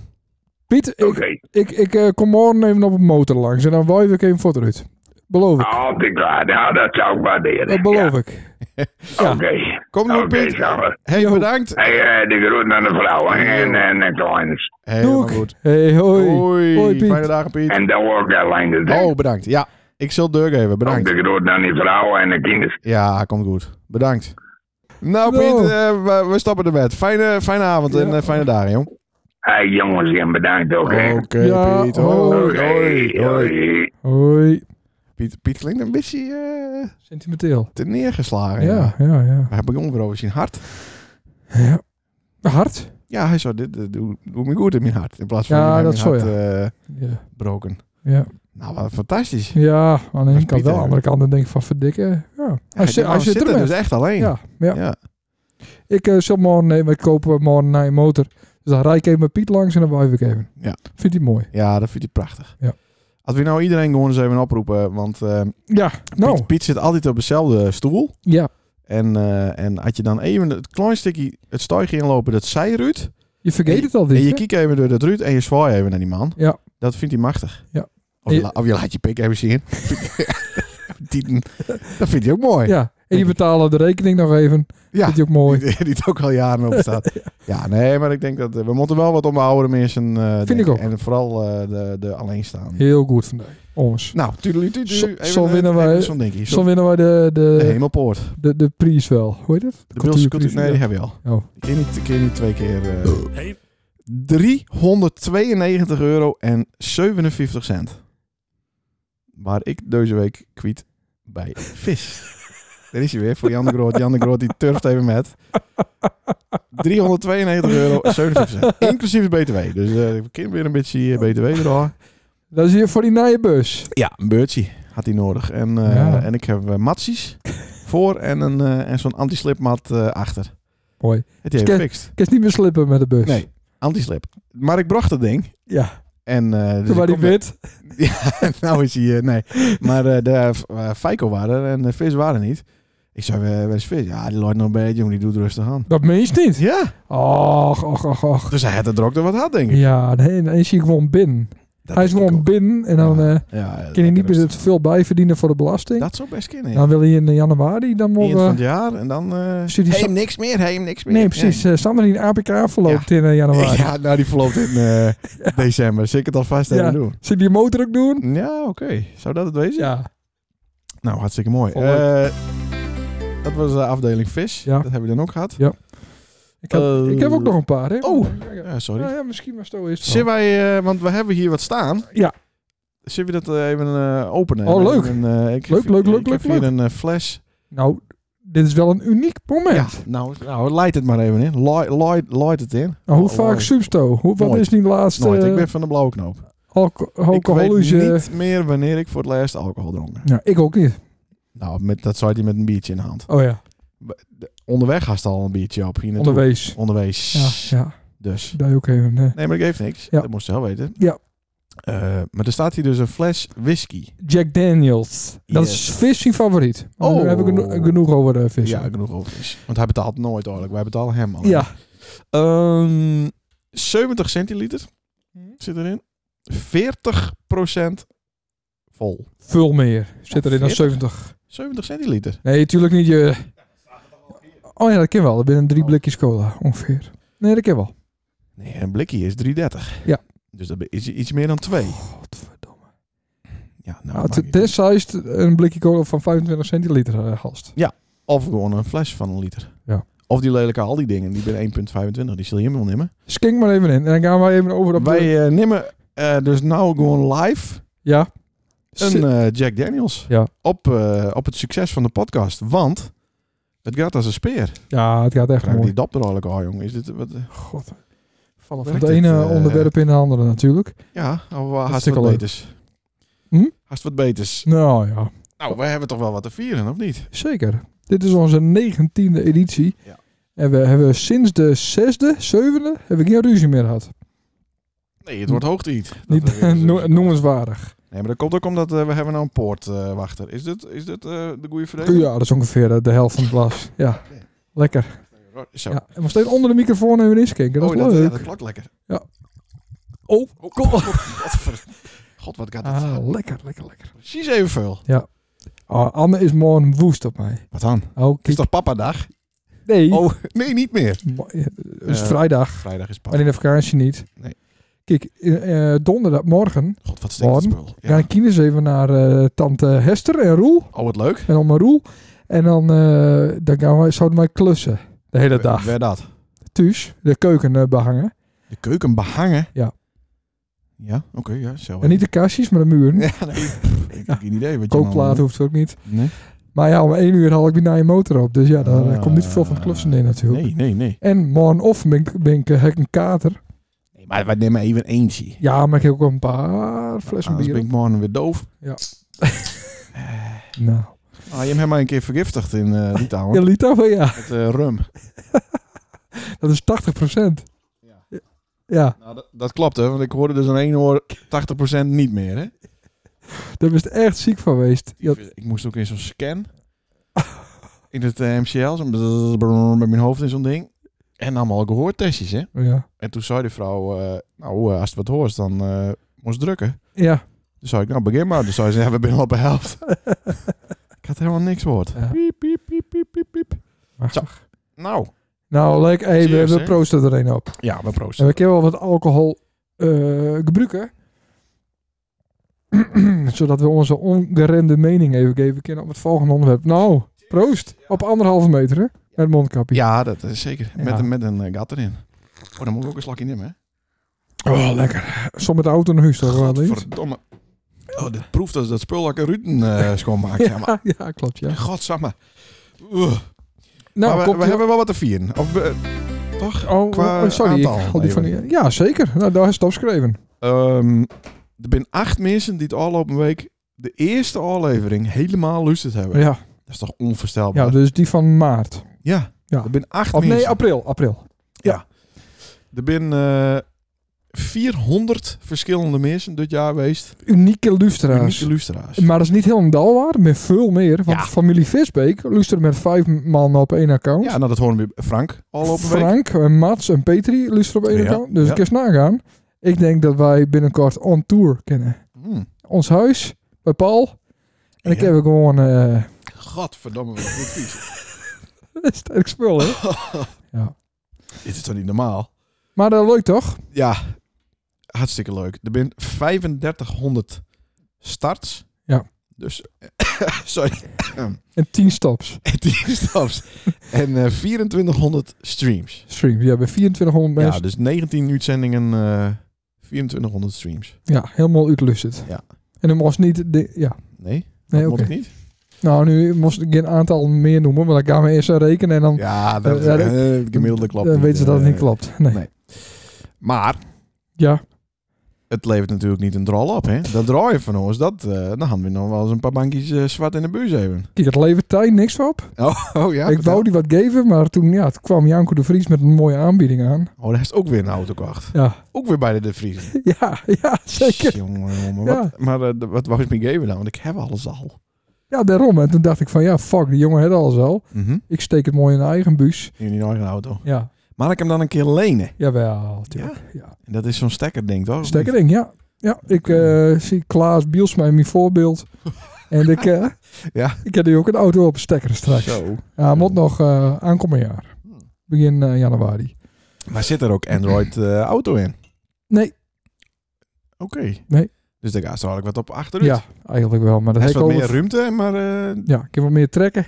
Speaker 1: Piet, ik,
Speaker 5: Oké.
Speaker 1: ik, ik eh, kom morgen even op een motor langs en dan wuif ik even voor eruit. Beloof ik.
Speaker 5: Oh, ik waar. Nou, dat zou ik waarderen.
Speaker 1: Dat beloof ik.
Speaker 5: Ja,
Speaker 1: ja.
Speaker 5: Oké.
Speaker 2: Kom
Speaker 5: Oké,
Speaker 2: nou, Piet.
Speaker 5: samen.
Speaker 2: Hey, bedankt.
Speaker 5: Hey, eh, de groet naar de vrouw en, en, en Kleines.
Speaker 2: Helemaal
Speaker 1: Doe
Speaker 2: goed.
Speaker 1: ik. Hey, hoi.
Speaker 2: Hoi.
Speaker 1: Hoi, Piet.
Speaker 2: Fijne dagen, Piet.
Speaker 5: En dan ook alleen de
Speaker 2: Oh, bedankt. Ja, ik zal Dirk even.
Speaker 5: Ook
Speaker 2: Bedankt.
Speaker 5: de groet naar die vrouw en de kinderen.
Speaker 2: Ja, komt goed. Bedankt. Nou,
Speaker 1: Nou.
Speaker 2: Piet, eh, we, we stappen er bed. Fijne, fijne avond en
Speaker 1: Ja.
Speaker 2: eh, fijne dagen, jong.
Speaker 5: Hey jongens, en bedankt ook. hè.
Speaker 2: Oké,
Speaker 1: Ja,
Speaker 2: Piet.
Speaker 1: hoi.
Speaker 2: Hoi.
Speaker 5: Oké,
Speaker 2: Hoi. hoi.
Speaker 5: hoi.
Speaker 1: Hoi.
Speaker 2: Piet, Piet klinkt een beetje eh,
Speaker 1: Sentimenteel.
Speaker 2: te neergeslagen.
Speaker 1: Ah, Ja, ja, ja.
Speaker 2: Hij begon weer over zijn hart.
Speaker 1: Ah, Hard?
Speaker 2: Ja, hij zou dit eh, doe, doe me goed in mijn hart. In plaats van
Speaker 1: Ja,
Speaker 2: ja,
Speaker 1: dat
Speaker 2: dat
Speaker 1: zou
Speaker 2: hart eh,
Speaker 1: Ja.
Speaker 2: broken.
Speaker 1: Ja.
Speaker 2: Nou, wat fantastisch.
Speaker 1: Ja, aan de ene
Speaker 2: is
Speaker 1: kant
Speaker 2: Pieter.
Speaker 1: wel. Aan de andere kant dan denk ik van verdikken. Ja. Hij, zit, hij zit er
Speaker 2: er
Speaker 1: met.
Speaker 2: dus echt alleen.
Speaker 1: Ja, ja.
Speaker 2: Ja.
Speaker 1: Ik eh, zal morgen nemen. Ik koop eh, morgen naar een motor. Dus dan rijd ik even met Piet langs en dan wuif ik even.
Speaker 2: Ja.
Speaker 1: Vindt hij mooi.
Speaker 2: Ja, dat vind ik prachtig.
Speaker 1: Ja.
Speaker 2: Als we nou iedereen gewoon eens even oproepen, want eh,
Speaker 1: Ja, nou.
Speaker 2: Piet, Piet zit altijd op dezelfde stoel.
Speaker 1: Ja.
Speaker 2: En, eh en had je dan even het klein stukje het stuigje inlopen, dat zij Ruud.
Speaker 1: Je vergeet
Speaker 2: En je-
Speaker 1: het al dit.
Speaker 2: en je
Speaker 1: hè?
Speaker 2: kijkt even door dat Ruud en je zwaai even naar die man.
Speaker 1: Ja.
Speaker 2: Dat vindt hij machtig.
Speaker 1: Ja.
Speaker 2: Of, je,
Speaker 1: En-
Speaker 2: la- of je laat je pik even zien. Die- dat vindt hij ook mooi.
Speaker 1: Ja. En je betaalt de rekening nog even.
Speaker 2: Ja.
Speaker 1: Vindt hij ook mooi.
Speaker 2: Die, die het ook al jaren op staat. ja, nee, maar ik denk dat eh, we moeten wel wat om de oudere mensen eh
Speaker 1: Vind ik
Speaker 2: denken.
Speaker 1: ook.
Speaker 2: En vooral eh, de, de alleenstaan.
Speaker 1: Heel goed vandaag. Ons.
Speaker 2: Nou, tuurlijk,
Speaker 1: Zo-
Speaker 2: tuurlijk.
Speaker 1: zo winnen wij-
Speaker 2: Zo'n denk je.
Speaker 1: Zo winnen wij de,
Speaker 2: de
Speaker 1: de,
Speaker 2: hemelpoort.
Speaker 1: de, de prijs wel. Hoe heet het?
Speaker 2: De Beelse
Speaker 1: Cultuurprijs,
Speaker 2: cultuur. Nee,
Speaker 1: ja.
Speaker 2: die hebben we al.
Speaker 1: Oh.
Speaker 2: Ik ken niet, ik ken niet twee keer. eh,
Speaker 6: Hey.
Speaker 2: 392 euro en 57 cent. Waar ik deze week kwiet bij vis. Daar is hij weer voor Jan de Groot. Jan de Groot die turft even met. 392 euro en 57 cent. Inclusief de BTW. Dus eh ik ken weer een beetje eh, BTW erdoor.
Speaker 1: Dat is hier voor die nije bus.
Speaker 2: Ja, een beurtje had hij nodig. En, eh,
Speaker 1: Ja.
Speaker 2: en ik heb eh, matsies voor en, een, eh, en zo'n anti-slipmat eh, achter.
Speaker 1: Mooi. Dus.
Speaker 2: Het heeft
Speaker 1: Ske-
Speaker 2: gefixt.
Speaker 1: Ik kan niet meer slippen met de bus.
Speaker 2: Nee, anti-slip. Maar ik bracht dat ding.
Speaker 1: Ja.
Speaker 2: En, eh dus
Speaker 1: Toen
Speaker 2: ik
Speaker 1: was die
Speaker 2: kom-
Speaker 1: wit.
Speaker 2: nou is hij, eh, nee. Maar eh, de eh, Feiko waren er en de vis waren niet. Ik zei, eh, waar is vis? Ja, die loopt nog een beetje, jongen, die doet rustig aan.
Speaker 1: Dat meen je niet.
Speaker 2: Ja,
Speaker 1: Och, och, och, och.
Speaker 2: dus hij had het er ook nog wat had, denk ik.
Speaker 1: Ja, nee, dan is hij gewoon binnen.
Speaker 2: Dat
Speaker 1: hij is
Speaker 2: denk ik
Speaker 1: gewoon
Speaker 2: ook.
Speaker 1: binnen en dan eh
Speaker 2: Ja, eh,
Speaker 1: kan hij niet
Speaker 2: lekker
Speaker 1: meer te
Speaker 2: rustig
Speaker 1: veel bijverdienen voor de belasting.
Speaker 2: aan. Dat zou best kunnen. Ja.
Speaker 1: Dan wil hij in eh, januari dan
Speaker 2: Eind van
Speaker 1: wel...
Speaker 2: het jaar en dan... eh
Speaker 1: Zit hij
Speaker 2: hey,
Speaker 1: zo-
Speaker 2: niks meer, hey, niks meer.
Speaker 1: nee, precies. eh Sander die een APK verloopt in eh, januari.
Speaker 2: Ja, nou, die verloopt in eh, december. Zul ik het alvast
Speaker 1: Ja.
Speaker 2: even doen?
Speaker 1: Zit die motor ook doen? Dus
Speaker 2: Ja, oké. Zou dat het wezen?
Speaker 1: Ja.
Speaker 2: Nou, hartstikke mooi.
Speaker 1: Vond leuk.
Speaker 2: Eh, dat was de afdeling vis.
Speaker 1: Ja.
Speaker 2: Dat hebben we dan ook gehad.
Speaker 1: Ik heb,
Speaker 2: Eh,
Speaker 1: ik heb ook nog een paar, hè?
Speaker 2: oh.
Speaker 1: Ja, ja.
Speaker 2: Ja, sorry.
Speaker 1: Nou ja, misschien maar zo is het
Speaker 2: Zullen
Speaker 1: wel.
Speaker 2: wij, eh, want we hebben hier wat staan.
Speaker 1: Ja.
Speaker 2: Zullen we dat eh, even eh, openen?
Speaker 1: Oh, leuk.
Speaker 2: En, eh, ik heb
Speaker 1: Leuk,
Speaker 2: hier-
Speaker 1: leuk, leuk,
Speaker 2: Ik heb
Speaker 1: leuk,
Speaker 2: hier
Speaker 1: leuk.
Speaker 2: een eh, fles.
Speaker 1: Nou, dit is wel een uniek
Speaker 2: Ja,
Speaker 1: moment.
Speaker 2: nou, nou, light het maar even in. Light, light, light het in.
Speaker 1: Nou, hoe
Speaker 2: Oh,
Speaker 1: vaak
Speaker 2: oh.
Speaker 1: substo? Hoe, wat
Speaker 2: Nooit.
Speaker 1: is die laatste
Speaker 2: Nooit, ik
Speaker 1: eh,
Speaker 2: ben van de blauwe knoop.
Speaker 1: alco-
Speaker 2: Ik weet
Speaker 1: alcoholische...
Speaker 2: niet meer wanneer ik voor het laatst alcohol dronk.
Speaker 1: Nou, ik ook niet.
Speaker 2: Nou, met, dat zei hij met een biertje in de hand.
Speaker 1: Oh ja,
Speaker 2: Onderweg had al een biertje op. Hier naartoe.
Speaker 1: onderwees.
Speaker 2: Onderwees.
Speaker 1: Ja, ja.
Speaker 2: Dus.
Speaker 1: Daar ook even. eh,
Speaker 2: Nee, maar dat geeft niks.
Speaker 1: Ja.
Speaker 2: Dat moest je wel weten.
Speaker 1: Ja.
Speaker 2: Eh, maar er staat hier dus een fles whisky.
Speaker 1: Jack Daniels. Dat
Speaker 2: Yes.
Speaker 1: is vis zijn favoriet. Maar
Speaker 2: Oh.
Speaker 1: Daar heb ik geno- genoeg over de vis.
Speaker 2: Ja, genoeg over is. Want hij betaalt nooit eigenlijk. Wij betalen hem al.
Speaker 1: ja.
Speaker 2: Ehm, 70 centiliter zit erin. 40% vol.
Speaker 1: Veel meer. Zit
Speaker 2: Ja,
Speaker 1: er in dan
Speaker 2: 40.
Speaker 1: 70.
Speaker 2: 70 centiliter.
Speaker 1: Nee, tuurlijk niet je... Oh ja, dat ken wel. Dat binnen drie blikjes cola ongeveer. Nee, dat ken wel.
Speaker 2: Nee, een blikje is 3,30.
Speaker 1: Ja.
Speaker 2: Dus dat is iets meer dan 2.
Speaker 1: Oh, Godverdomme.
Speaker 2: Ja, nou,
Speaker 1: Nou,
Speaker 2: maakt
Speaker 1: te-
Speaker 2: niet uit.
Speaker 1: tenzij is het een blikje cola van 25 centiliter eh, gast.
Speaker 2: of gewoon een fles van een liter.
Speaker 1: Ja.
Speaker 2: Of die lelijke al die dingen, die bij 1,25, die zul je helemaal nemen.
Speaker 1: Skink maar even in. En dan gaan wij even over op de-
Speaker 2: Wij eh, nemen eh, dus nou gewoon live
Speaker 1: Ja.
Speaker 2: een
Speaker 1: Zit-
Speaker 2: eh, Jack Daniels
Speaker 1: Ja.
Speaker 2: op, eh, op het succes van de podcast. Want het gaat als een speer.
Speaker 1: ja, het gaat echt
Speaker 2: Krijg
Speaker 1: mooi.
Speaker 2: die dap er eigenlijk al, jongen. Is dit wat? eh,
Speaker 1: God. Vallen van
Speaker 2: Werkt
Speaker 1: het ene
Speaker 2: het, eh,
Speaker 1: onderwerp in de andere natuurlijk.
Speaker 2: Ja, nou, eh, haast
Speaker 1: stuk
Speaker 2: wat
Speaker 1: al leuk.
Speaker 2: beters.
Speaker 1: Hm?
Speaker 2: Haast wat beters.
Speaker 1: Nou ja.
Speaker 2: Nou, wij hebben toch wel wat te vieren, of niet?
Speaker 1: Zeker. Dit is onze negentiende editie.
Speaker 2: Ja.
Speaker 1: En we hebben sinds de zesde, zevende, heb ik geen ruzie meer gehad.
Speaker 2: Nee, het wordt hoogtijd. Dat we
Speaker 1: Hm. Niet
Speaker 2: weer eens-
Speaker 1: no- noemenswaardig.
Speaker 2: Nee, maar dat komt ook omdat eh, we hebben nou een poortwachter. is dit, is dit eh, de goede verdeling?
Speaker 1: Ja, dat is ongeveer eh, de helft van het glas. Ja, lekker.
Speaker 2: Ro- Zo.
Speaker 1: Ja, en we staan onder de microfoon en weer eens kijken. Dat
Speaker 2: oh,
Speaker 1: is
Speaker 2: dat, ja,
Speaker 1: leuk.
Speaker 2: dat klopt lekker.
Speaker 1: Oh,
Speaker 2: Oh,
Speaker 1: kom.
Speaker 2: God, wat ver- God, wat gaat het?
Speaker 1: Ah, lekker, lekker, lekker.
Speaker 2: Precies evenveel.
Speaker 1: Oh, Anne is morgen woest op mij.
Speaker 2: Wat dan?
Speaker 1: Oh,
Speaker 2: Het is
Speaker 1: kijk.
Speaker 2: toch papadag?
Speaker 1: Nee.
Speaker 2: Oh, nee, niet meer.
Speaker 1: Ma- eh, Het is
Speaker 2: Eh,
Speaker 1: vrijdag,
Speaker 2: Vrijdag is
Speaker 1: maar
Speaker 2: papa.
Speaker 1: in de vakantie niet.
Speaker 2: Nee.
Speaker 1: Kijk, eh, eh, donderdag morgen
Speaker 2: God, wat stinkt het
Speaker 1: Morgen.
Speaker 2: spul.
Speaker 1: gaan
Speaker 2: Ja.
Speaker 1: de kinderen even naar eh, tante Hester en Roel.
Speaker 2: Oh, wat leuk.
Speaker 1: En oma Roel. En dan, eh, dan gaan wij, zouden wij klussen. De hele dag.
Speaker 2: Weer dat.
Speaker 1: Thuis, de keuken eh, behangen.
Speaker 2: De keuken behangen?
Speaker 1: Ja.
Speaker 2: Ja, oké, ja, zo.
Speaker 1: En niet de kastjes, maar de muren.
Speaker 2: Ja, nee, pff, ik heb geen idee. Wat je
Speaker 1: Kookplaat
Speaker 2: nou-
Speaker 1: hoeft ook niet.
Speaker 2: Nee?
Speaker 1: Maar ja, om één uur haal ik weer naar je motor op. Dus ja, daar eh, komt niet veel van
Speaker 2: Ah,
Speaker 1: klussen in natuurlijk.
Speaker 2: Nee, nee, nee.
Speaker 1: En morgen of ben ik, ben ik, eh, heb ik een kater.
Speaker 2: nee maar wij nemen even eentje.
Speaker 1: Ja, maar ik heb ook wel een paar
Speaker 2: Ah,
Speaker 1: flessen
Speaker 2: Anders
Speaker 1: bier.
Speaker 2: ben ik morgen weer doof.
Speaker 1: Nou,
Speaker 2: Ah, je hebt hem maar een keer vergiftigd in eh Litouwen.
Speaker 1: ja, Litouwen, ja.
Speaker 2: Met eh, rum.
Speaker 1: Dat is 80 procent.
Speaker 2: Ja.
Speaker 1: Ja,
Speaker 2: Nou, dat, dat klopt, hè. Want ik hoorde dus aan één oor 80% niet meer, hè.
Speaker 1: daar ben je echt ziek van geweest. Ja,
Speaker 2: Ik moest ook in zo'n scan. In het eh, MCL. Zo'n brrrr, brrrr, met mijn hoofd in zo'n ding. En allemaal gehoortestjes, hè.
Speaker 1: ja.
Speaker 2: En toen zei de vrouw... eh, nou, eh, als het wat hoort, dan eh, moest drukken.
Speaker 1: ja.
Speaker 2: Dus zei ik, nou begin maar. Dus zei ze, ja, we zijn al op de helft. ik had helemaal niks gehoord.
Speaker 1: Ja.
Speaker 2: Piep, piep, piep, piep, piep, piep.
Speaker 1: Machtig.
Speaker 2: Nou.
Speaker 1: Nou, leuk. Hey, we,
Speaker 2: Cheers,
Speaker 1: we
Speaker 2: hè?
Speaker 1: proosten er een op.
Speaker 2: Ja, we proosten.
Speaker 1: En we kunnen wel wat alcohol eh, gebruiken. Zodat we onze ongeremde mening even geven kunnen op het volgende onderwerp. Nou, proost. Op anderhalve meter, hè? Met mondkapje.
Speaker 2: Ja, dat is zeker.
Speaker 1: Ja.
Speaker 2: Met, een, met een eh, gat erin. Oh, dan moet ik ook een slokje nemen, hè?
Speaker 1: Oh, lekker. Zo met de auto naar huis toch wel eens?
Speaker 2: Godverdomme. Oh, dit proeft als dat spul dat ik een Ruiten eh schoonmaak, zeg maar.
Speaker 1: Ja, ja, klopt, ja.
Speaker 2: Godsamme. Oeh.
Speaker 1: Nou,
Speaker 2: maar we,
Speaker 1: komt
Speaker 2: we
Speaker 1: er-
Speaker 2: hebben wel wat te vieren. Of, eh, toch?
Speaker 1: Oh,
Speaker 2: qua
Speaker 1: oh, sorry. Ik
Speaker 2: aantal
Speaker 1: haal die van die...
Speaker 2: even.
Speaker 1: Ja, zeker. Nou, daar is het opgeschreven.
Speaker 2: Ehm, er zijn acht mensen die het afgelopen week de eerste aflevering helemaal luisterd hebben.
Speaker 1: Ja,
Speaker 2: Dat is toch onvoorstelbaar?
Speaker 1: ja, dus die van maart.
Speaker 2: Ja,
Speaker 1: Ja.
Speaker 2: er zijn acht
Speaker 1: Of nee,
Speaker 2: mensen.
Speaker 1: april. April.
Speaker 2: er zijn eh, 400 verschillende mensen dit jaar geweest.
Speaker 1: Unieke luisteraars.
Speaker 2: Unieke luisteraars.
Speaker 1: Maar dat is niet helemaal waar, maar veel meer. Want
Speaker 2: Ja.
Speaker 1: familie Visbeek luistert met vijf man op één account.
Speaker 2: Ja, nou dat horen we bij Frank al op een week.
Speaker 1: Frank, en Mats en Petri luisteren op één
Speaker 2: Ja,
Speaker 1: account. Dus
Speaker 2: ja.
Speaker 1: ik eens nagaan. Ik denk dat wij binnenkort on tour kennen.
Speaker 2: Hmm.
Speaker 1: Ons huis bij Paul. En ik
Speaker 2: Ja.
Speaker 1: heb ook gewoon eh
Speaker 2: Godverdomme, wat goed vies.
Speaker 1: sterk spul, hè?
Speaker 2: Dit is toch niet normaal?
Speaker 1: Maar dat leuk toch?
Speaker 2: Ja, hartstikke leuk. Er zijn 3500 starts.
Speaker 1: Ja.
Speaker 2: Dus, sorry,
Speaker 1: En 10 stops.
Speaker 2: 10 staps. En eh, 2400 streams.
Speaker 1: Stream. Ja, bij 2400
Speaker 2: Ja,
Speaker 1: mensen.
Speaker 2: dus 19 uitzendingen, eh 2400 streams.
Speaker 1: Ja, helemaal uitlusterd.
Speaker 2: Ja.
Speaker 1: En dan moest niet... De, ja.
Speaker 2: Nee? Dat
Speaker 1: Nee,
Speaker 2: moet
Speaker 1: oké.
Speaker 2: ik niet?
Speaker 1: Nou, nu moest ik een aantal meer noemen, maar dan gaan we eerst aan rekenen en dan...
Speaker 2: Ja, dat,
Speaker 1: Eh, ja, dat-
Speaker 2: eh, het gemiddelde klopt
Speaker 1: Dan
Speaker 2: niet,
Speaker 1: weten ze dat het
Speaker 2: eh.
Speaker 1: niet klopt. Nee.
Speaker 2: nee. Maar
Speaker 1: Ja.
Speaker 2: het levert natuurlijk niet een drol op, hè? Dat draaien van ons, dat, eh, dan gaan we nog wel eens een paar bankjes eh, zwart in de buurt hebben.
Speaker 1: Kijk, het levert tijd niks op.
Speaker 2: Oh, oh ja?
Speaker 1: ik
Speaker 2: vertel.
Speaker 1: wou die wat geven, maar toen ja, het kwam Janko de Vries met een mooie aanbieding aan.
Speaker 2: Oh, daar is ook weer een auto gekocht.
Speaker 1: Ja,
Speaker 2: Ook weer bij de De Vries.
Speaker 1: ja, ja zeker.
Speaker 2: Jongen, jongen,
Speaker 1: Ja.
Speaker 2: wat, maar eh, wat wou je me geven dan? Want ik heb alles al.
Speaker 1: Ja, daarom. En toen dacht ik van ja, fuck, die jongen had alles al.
Speaker 2: Mhm.
Speaker 1: Ik steek het mooi in eigen buis.
Speaker 2: In die eigen auto.
Speaker 1: Ja,
Speaker 2: Maar ik hem dan een keer lenen.
Speaker 1: jawel, tuurlijk. Ja.
Speaker 2: En dat is zo'n stekker ding, toch?
Speaker 1: Stekker ding, ja. Ja, ik eh, zie Klaas Bielsma in mijn voorbeeld. en ik, eh,
Speaker 2: Ja.
Speaker 1: ik heb nu ook een auto op stekker straks.
Speaker 2: Zo. Hmm.
Speaker 1: Ja, moet nog eh aankomend jaar. Begin eh, januari.
Speaker 2: Maar zit er ook Android eh, auto in?
Speaker 1: Nee.
Speaker 2: Oké.
Speaker 1: Nee.
Speaker 2: Dus daar gaat zo ik wat op achteruit.
Speaker 1: Ja, eigenlijk wel. Maar dat
Speaker 2: Er is
Speaker 1: heb ik
Speaker 2: wat
Speaker 1: al
Speaker 2: meer
Speaker 1: wat-
Speaker 2: ruimte, maar... eh,
Speaker 1: Ja, ik heb wat meer trekken.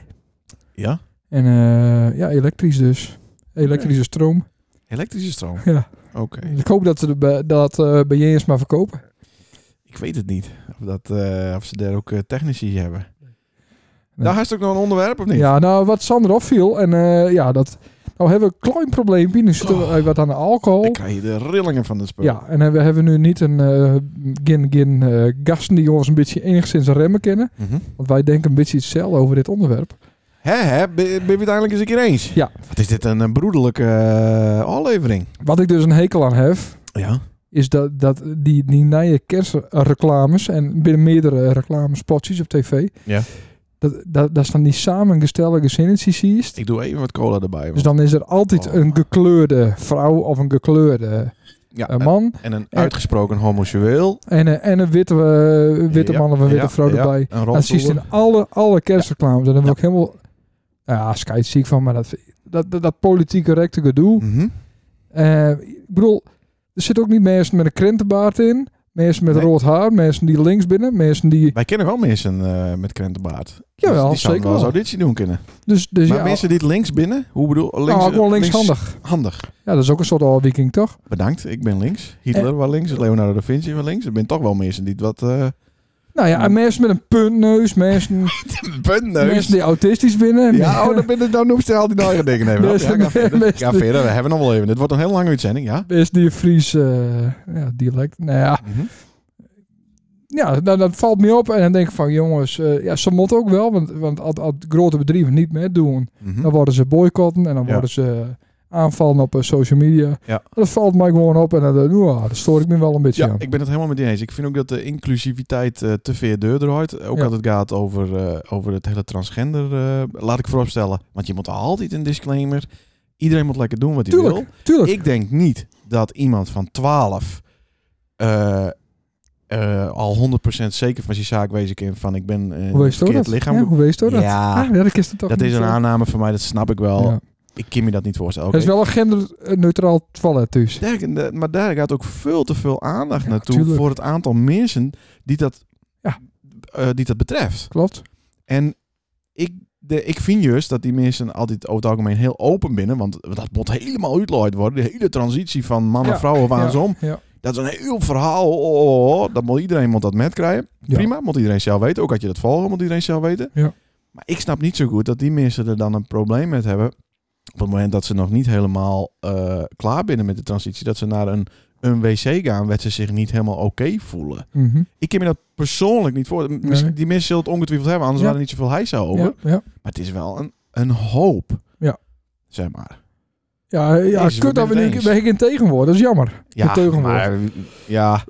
Speaker 2: ja?
Speaker 1: En eh, ja, elektrisch dus. Elektrische stroom.
Speaker 2: Elektrische stroom.
Speaker 1: Ja.
Speaker 2: Oké.
Speaker 1: Ik hoop dat ze de, be- dat eh bij Jens maar verkopen.
Speaker 2: Ik weet het niet. Of, dat, eh, of ze daar ook eh, technici hebben. Daar is het ook nog een onderwerp, of niet?
Speaker 1: Ja, nou, wat Sander opviel. En eh, ja, dat... Nou hebben we een klein probleempje. Nu zitten we
Speaker 2: Oh.
Speaker 1: eh, wat aan de alcohol.
Speaker 2: Dan krijg je de rillingen van het spul.
Speaker 1: Ja, en eh, we hebben nu niet een eh gin gin eh, gasten die ons een beetje enigszins remmen kennen.
Speaker 2: Mhm.
Speaker 1: Want wij denken een beetje hetzelfde over dit onderwerp.
Speaker 2: Hè, hè? Ben ben je het uiteindelijk eens een keer eens?
Speaker 1: Ja.
Speaker 2: Wat is dit een eh, broederlijke eh, aflevering?
Speaker 1: Wat ik dus een hekel aan heb,
Speaker 2: Ja.
Speaker 1: is dat, dat die, die nieuwe kerstreclames en binnen meerdere reclamespotjes op tv,
Speaker 2: Ja.
Speaker 1: Dat, dat, dat staan die samengestelde zinnetjes ziet.
Speaker 2: Ik doe even wat cola erbij.
Speaker 1: Dus
Speaker 2: want-
Speaker 1: dan is er altijd
Speaker 2: Oh.
Speaker 1: een gekleurde vrouw of een gekleurde
Speaker 2: ja,
Speaker 1: eh,
Speaker 2: en-
Speaker 1: man.
Speaker 2: en een uitgesproken homoseksueel.
Speaker 1: En, eh, en een witte, eh, witte
Speaker 2: Ja,
Speaker 1: man of een witte
Speaker 2: ja,
Speaker 1: vrouw
Speaker 2: ja,
Speaker 1: erbij.
Speaker 2: Een
Speaker 1: Dat zie je
Speaker 2: rolstoel.
Speaker 1: in alle, alle kerstreclames. En dan word ik helemaal... Ja, schijt ziek van, maar dat, dat, dat, dat politiek correcte gedoe.
Speaker 2: Mhm.
Speaker 1: Eh, ik bedoel, er zitten ook niet mensen met een krentenbaard in. Mensen met
Speaker 2: Nee.
Speaker 1: rood haar. Mensen die links binnen. Mensen die...
Speaker 2: Wij kennen wel mensen eh, met krentenbaard. Dus
Speaker 1: Jawel,
Speaker 2: die zouden
Speaker 1: zeker
Speaker 2: wel eens
Speaker 1: wel.
Speaker 2: auditie doen kunnen.
Speaker 1: Dus, dus
Speaker 2: maar
Speaker 1: ja,
Speaker 2: mensen die het links binnen, hoe bedoel
Speaker 1: nou,
Speaker 2: links, eh,
Speaker 1: ook wel
Speaker 2: links-
Speaker 1: linkshandig.
Speaker 2: Handig.
Speaker 1: Ja, dat is ook een soort all-wiking, toch?
Speaker 2: Bedankt, ik ben links. Hitler
Speaker 1: Eh.
Speaker 2: was links, Leonardo da Vinci was links. Er zijn toch wel mensen die het wat... eh
Speaker 1: Nou ja, en mensen met een puntneus. Mensen,
Speaker 2: Puntneus.
Speaker 1: mensen die autistisch binnen.
Speaker 2: Ja, oh, dan ben ik nou noemt ze al die nou dingen even. op.
Speaker 1: Mensen-
Speaker 2: Ja, ga verder.
Speaker 1: mensen-
Speaker 2: Ga verder, we hebben nog wel even. Dit wordt een heel lange uitzending, ja.
Speaker 1: Mensen die een Fries eh, ja, dialect. Nou ja,
Speaker 2: Mhm.
Speaker 1: ja, nou, dat valt me op. En dan denk ik van, jongens, eh, ja, ze moeten ook wel. Want, want als, als grote bedrijven niet meedoen,
Speaker 2: Mhm.
Speaker 1: dan worden ze boycotten. En dan
Speaker 2: Ja.
Speaker 1: worden ze aanvallen op eh, social media.
Speaker 2: Ja.
Speaker 1: Dat valt mij gewoon op. En dan, eh, nou, daar stoor ik me wel een beetje
Speaker 2: Ja,
Speaker 1: aan.
Speaker 2: ik ben het helemaal met je eens. Ik vind ook dat de inclusiviteit eh, te veel deur draait. Ook
Speaker 1: Ja.
Speaker 2: als het gaat over, eh, over het hele transgender. eh, laat ik vooropstellen. Want je moet altijd een disclaimer. Iedereen moet lekker doen wat hij
Speaker 1: Tuurlijk,
Speaker 2: wil.
Speaker 1: tuurlijk.
Speaker 2: Ik denk niet dat iemand van 12 eh, eh, al 100% zeker van zijn zaak wezen kan van ik ben eh, een
Speaker 1: hoe wees door
Speaker 2: verkeerd
Speaker 1: dat?
Speaker 2: lichaam.
Speaker 1: Ja, hoe wees door dat?
Speaker 2: Ja,
Speaker 1: Ah, dat is het toch
Speaker 2: dat
Speaker 1: niet
Speaker 2: is een
Speaker 1: zo.
Speaker 2: aanname van mij, dat snap ik wel.
Speaker 1: Ja.
Speaker 2: Ik kan me dat niet voorstellen.
Speaker 1: Er is
Speaker 2: Oké.
Speaker 1: wel een genderneutraal toilet dus.
Speaker 2: Daar- da- maar daar gaat ook veel te veel aandacht
Speaker 1: Ja,
Speaker 2: naartoe
Speaker 1: tuurlijk.
Speaker 2: voor het aantal mensen die dat,
Speaker 1: Ja.
Speaker 2: eh, die dat betreft.
Speaker 1: Klopt.
Speaker 2: En ik, de, ik vind juist dat die mensen altijd over het algemeen heel open binnen, want dat moet helemaal uitlooid worden. De hele transitie van man naar
Speaker 1: Ja,
Speaker 2: vrouw of andersom.
Speaker 1: ja.
Speaker 2: Dat is een heel verhaal. Oh, oh, oh. Dat moet iedereen moet dat met krijgen.
Speaker 1: Ja.
Speaker 2: Prima, moet iedereen zelf weten. Ook had je dat volgen, moet iedereen zelf weten.
Speaker 1: Ja.
Speaker 2: Maar ik snap niet zo goed dat die mensen er dan een probleem met hebben. Op het moment dat ze nog niet helemaal eh, klaar binnen met de transitie. Dat ze naar een, een wc gaan, waar ze zich niet helemaal oké voelen.
Speaker 1: Mhm.
Speaker 2: Ik kan me dat persoonlijk niet voor. Misschien-
Speaker 1: Nee.
Speaker 2: Die mensen zullen het ongetwijfeld hebben, anders
Speaker 1: Ja.
Speaker 2: waren er niet zoveel hijsa over.
Speaker 1: Ja, ja.
Speaker 2: Maar het is wel een, een hoop.
Speaker 1: Ja.
Speaker 2: Zeg maar.
Speaker 1: Ja, eh, ja
Speaker 2: Jezus, we
Speaker 1: kut dat we
Speaker 2: zijn het
Speaker 1: niet weg in tegenwoordig. Dat is jammer. Een
Speaker 2: Ja,
Speaker 1: teugenwoord.
Speaker 2: maar ja,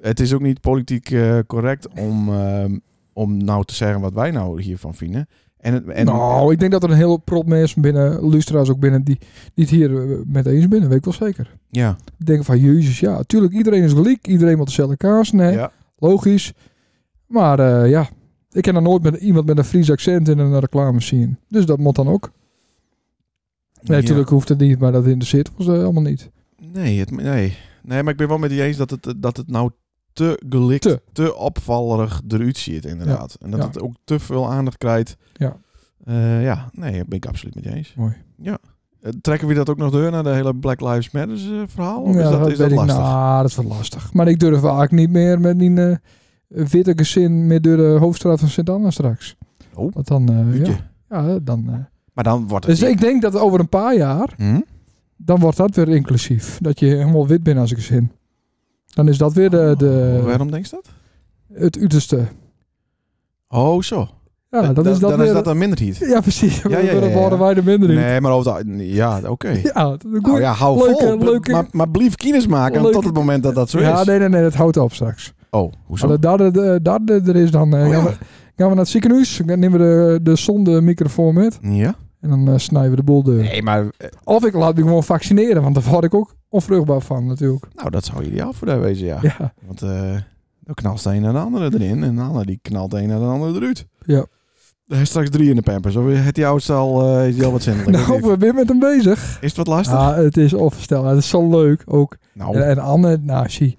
Speaker 2: het is ook niet politiek eh, correct om, ehm, om nou te zeggen wat wij nou hiervan vinden. En, het- en
Speaker 1: nou, ik denk dat er een hele prop mensen binnen, lustra's ook binnen, die, die het hier eh, met eens binnen, weet ik wel zeker.
Speaker 2: ja,
Speaker 1: Die denken van, jezus, ja, tuurlijk, iedereen is gelijk, iedereen moet dezelfde kaas, nee,
Speaker 2: ja,
Speaker 1: logisch. Maar eh, ja, ik ken dan nooit met iemand met een Fries accent in een reclame zien. Dus dat moet dan ook. Nee,
Speaker 2: Ja.
Speaker 1: natuurlijk hoeft het niet, maar dat interesseert ons eh, allemaal niet.
Speaker 2: Nee, het, nee. nee, maar ik ben wel met je eens dat het, dat het nou te gelikt, te,
Speaker 1: Te.
Speaker 2: opvallerig eruit ziet inderdaad. En dat
Speaker 1: ja.
Speaker 2: het ook te veel aandacht krijgt.
Speaker 1: Ja.
Speaker 2: Eh, ja, nee, daar ben ik absoluut met je eens.
Speaker 1: Mooi.
Speaker 2: Ja. Eh, Trekken we dat ook nog door naar de hele Black Lives Matter eh, verhaal? Of
Speaker 1: Ja,
Speaker 2: is dat, is dat
Speaker 1: weet ik.
Speaker 2: lastig?
Speaker 1: Nou, dat is wel lastig. Maar ik durf eigenlijk niet meer met die eh, witte gezin meer door de hoofdstraat van Sint-Anna straks.
Speaker 2: Oh.
Speaker 1: Want dan, eh,
Speaker 2: Uutje.
Speaker 1: ja, ja, dan... eh,
Speaker 2: Maar dan wordt het...
Speaker 1: Dus ik denk dat over een paar jaar,
Speaker 2: Hm?
Speaker 1: dan wordt dat weer inclusief. Dat je helemaal wit bent als ik zin. Dan is dat weer de, de,
Speaker 2: Waarom denk je dat?
Speaker 1: het uiterste.
Speaker 2: Oh, zo.
Speaker 1: Ja, dan, is dat
Speaker 2: Eh, dan
Speaker 1: weer...
Speaker 2: is dat een minderheid.
Speaker 1: Ja, precies.
Speaker 2: ja, ja,
Speaker 1: Dan
Speaker 2: ja.
Speaker 1: worden wij de mindering.
Speaker 2: Nee, maar over de, ja, oké.
Speaker 1: Ja, dat is
Speaker 2: Nou
Speaker 1: goed.
Speaker 2: ja, hou
Speaker 1: Leuke-
Speaker 2: vol. Bl-
Speaker 1: leuke-
Speaker 2: maar, maar blijf kines maken
Speaker 1: Leuke-
Speaker 2: tot het moment dat dat zo is.
Speaker 1: Ja, nee, nee, nee, dat houdt op straks.
Speaker 2: Oh, hoezo?
Speaker 1: Dat, dat, dat, dat er is dan... eh,
Speaker 2: Oh,
Speaker 1: gaan,
Speaker 2: ja.
Speaker 1: we, gaan we naar het ziekenhuis, dan nemen we de, de zonde-microfoon met
Speaker 2: ja?
Speaker 1: en dan eh, snijden we de boel deur.
Speaker 2: Nee, maar eh,
Speaker 1: Of ik laat me gewoon vaccineren, want daar word ik ook onvruchtbaar van natuurlijk.
Speaker 2: nou, dat zou ideaal voor daar wezen, ja.
Speaker 1: Ja,
Speaker 2: Want eh dan knalt de een naar de andere erin en de ander die knalt de een naar de andere eruit.
Speaker 1: Ja.
Speaker 2: Er is straks drie in de pampers. Of het die oudste al, eh, is die al wat zindelijk?
Speaker 1: nou,
Speaker 2: of
Speaker 1: we Ah,
Speaker 2: niet?
Speaker 1: zijn weer met hem bezig.
Speaker 2: Is het wat lastig?
Speaker 1: Ja, het is onvoorstelbaar. Het is zo leuk ook.
Speaker 2: nou,
Speaker 1: En, en Anne, nou, zie,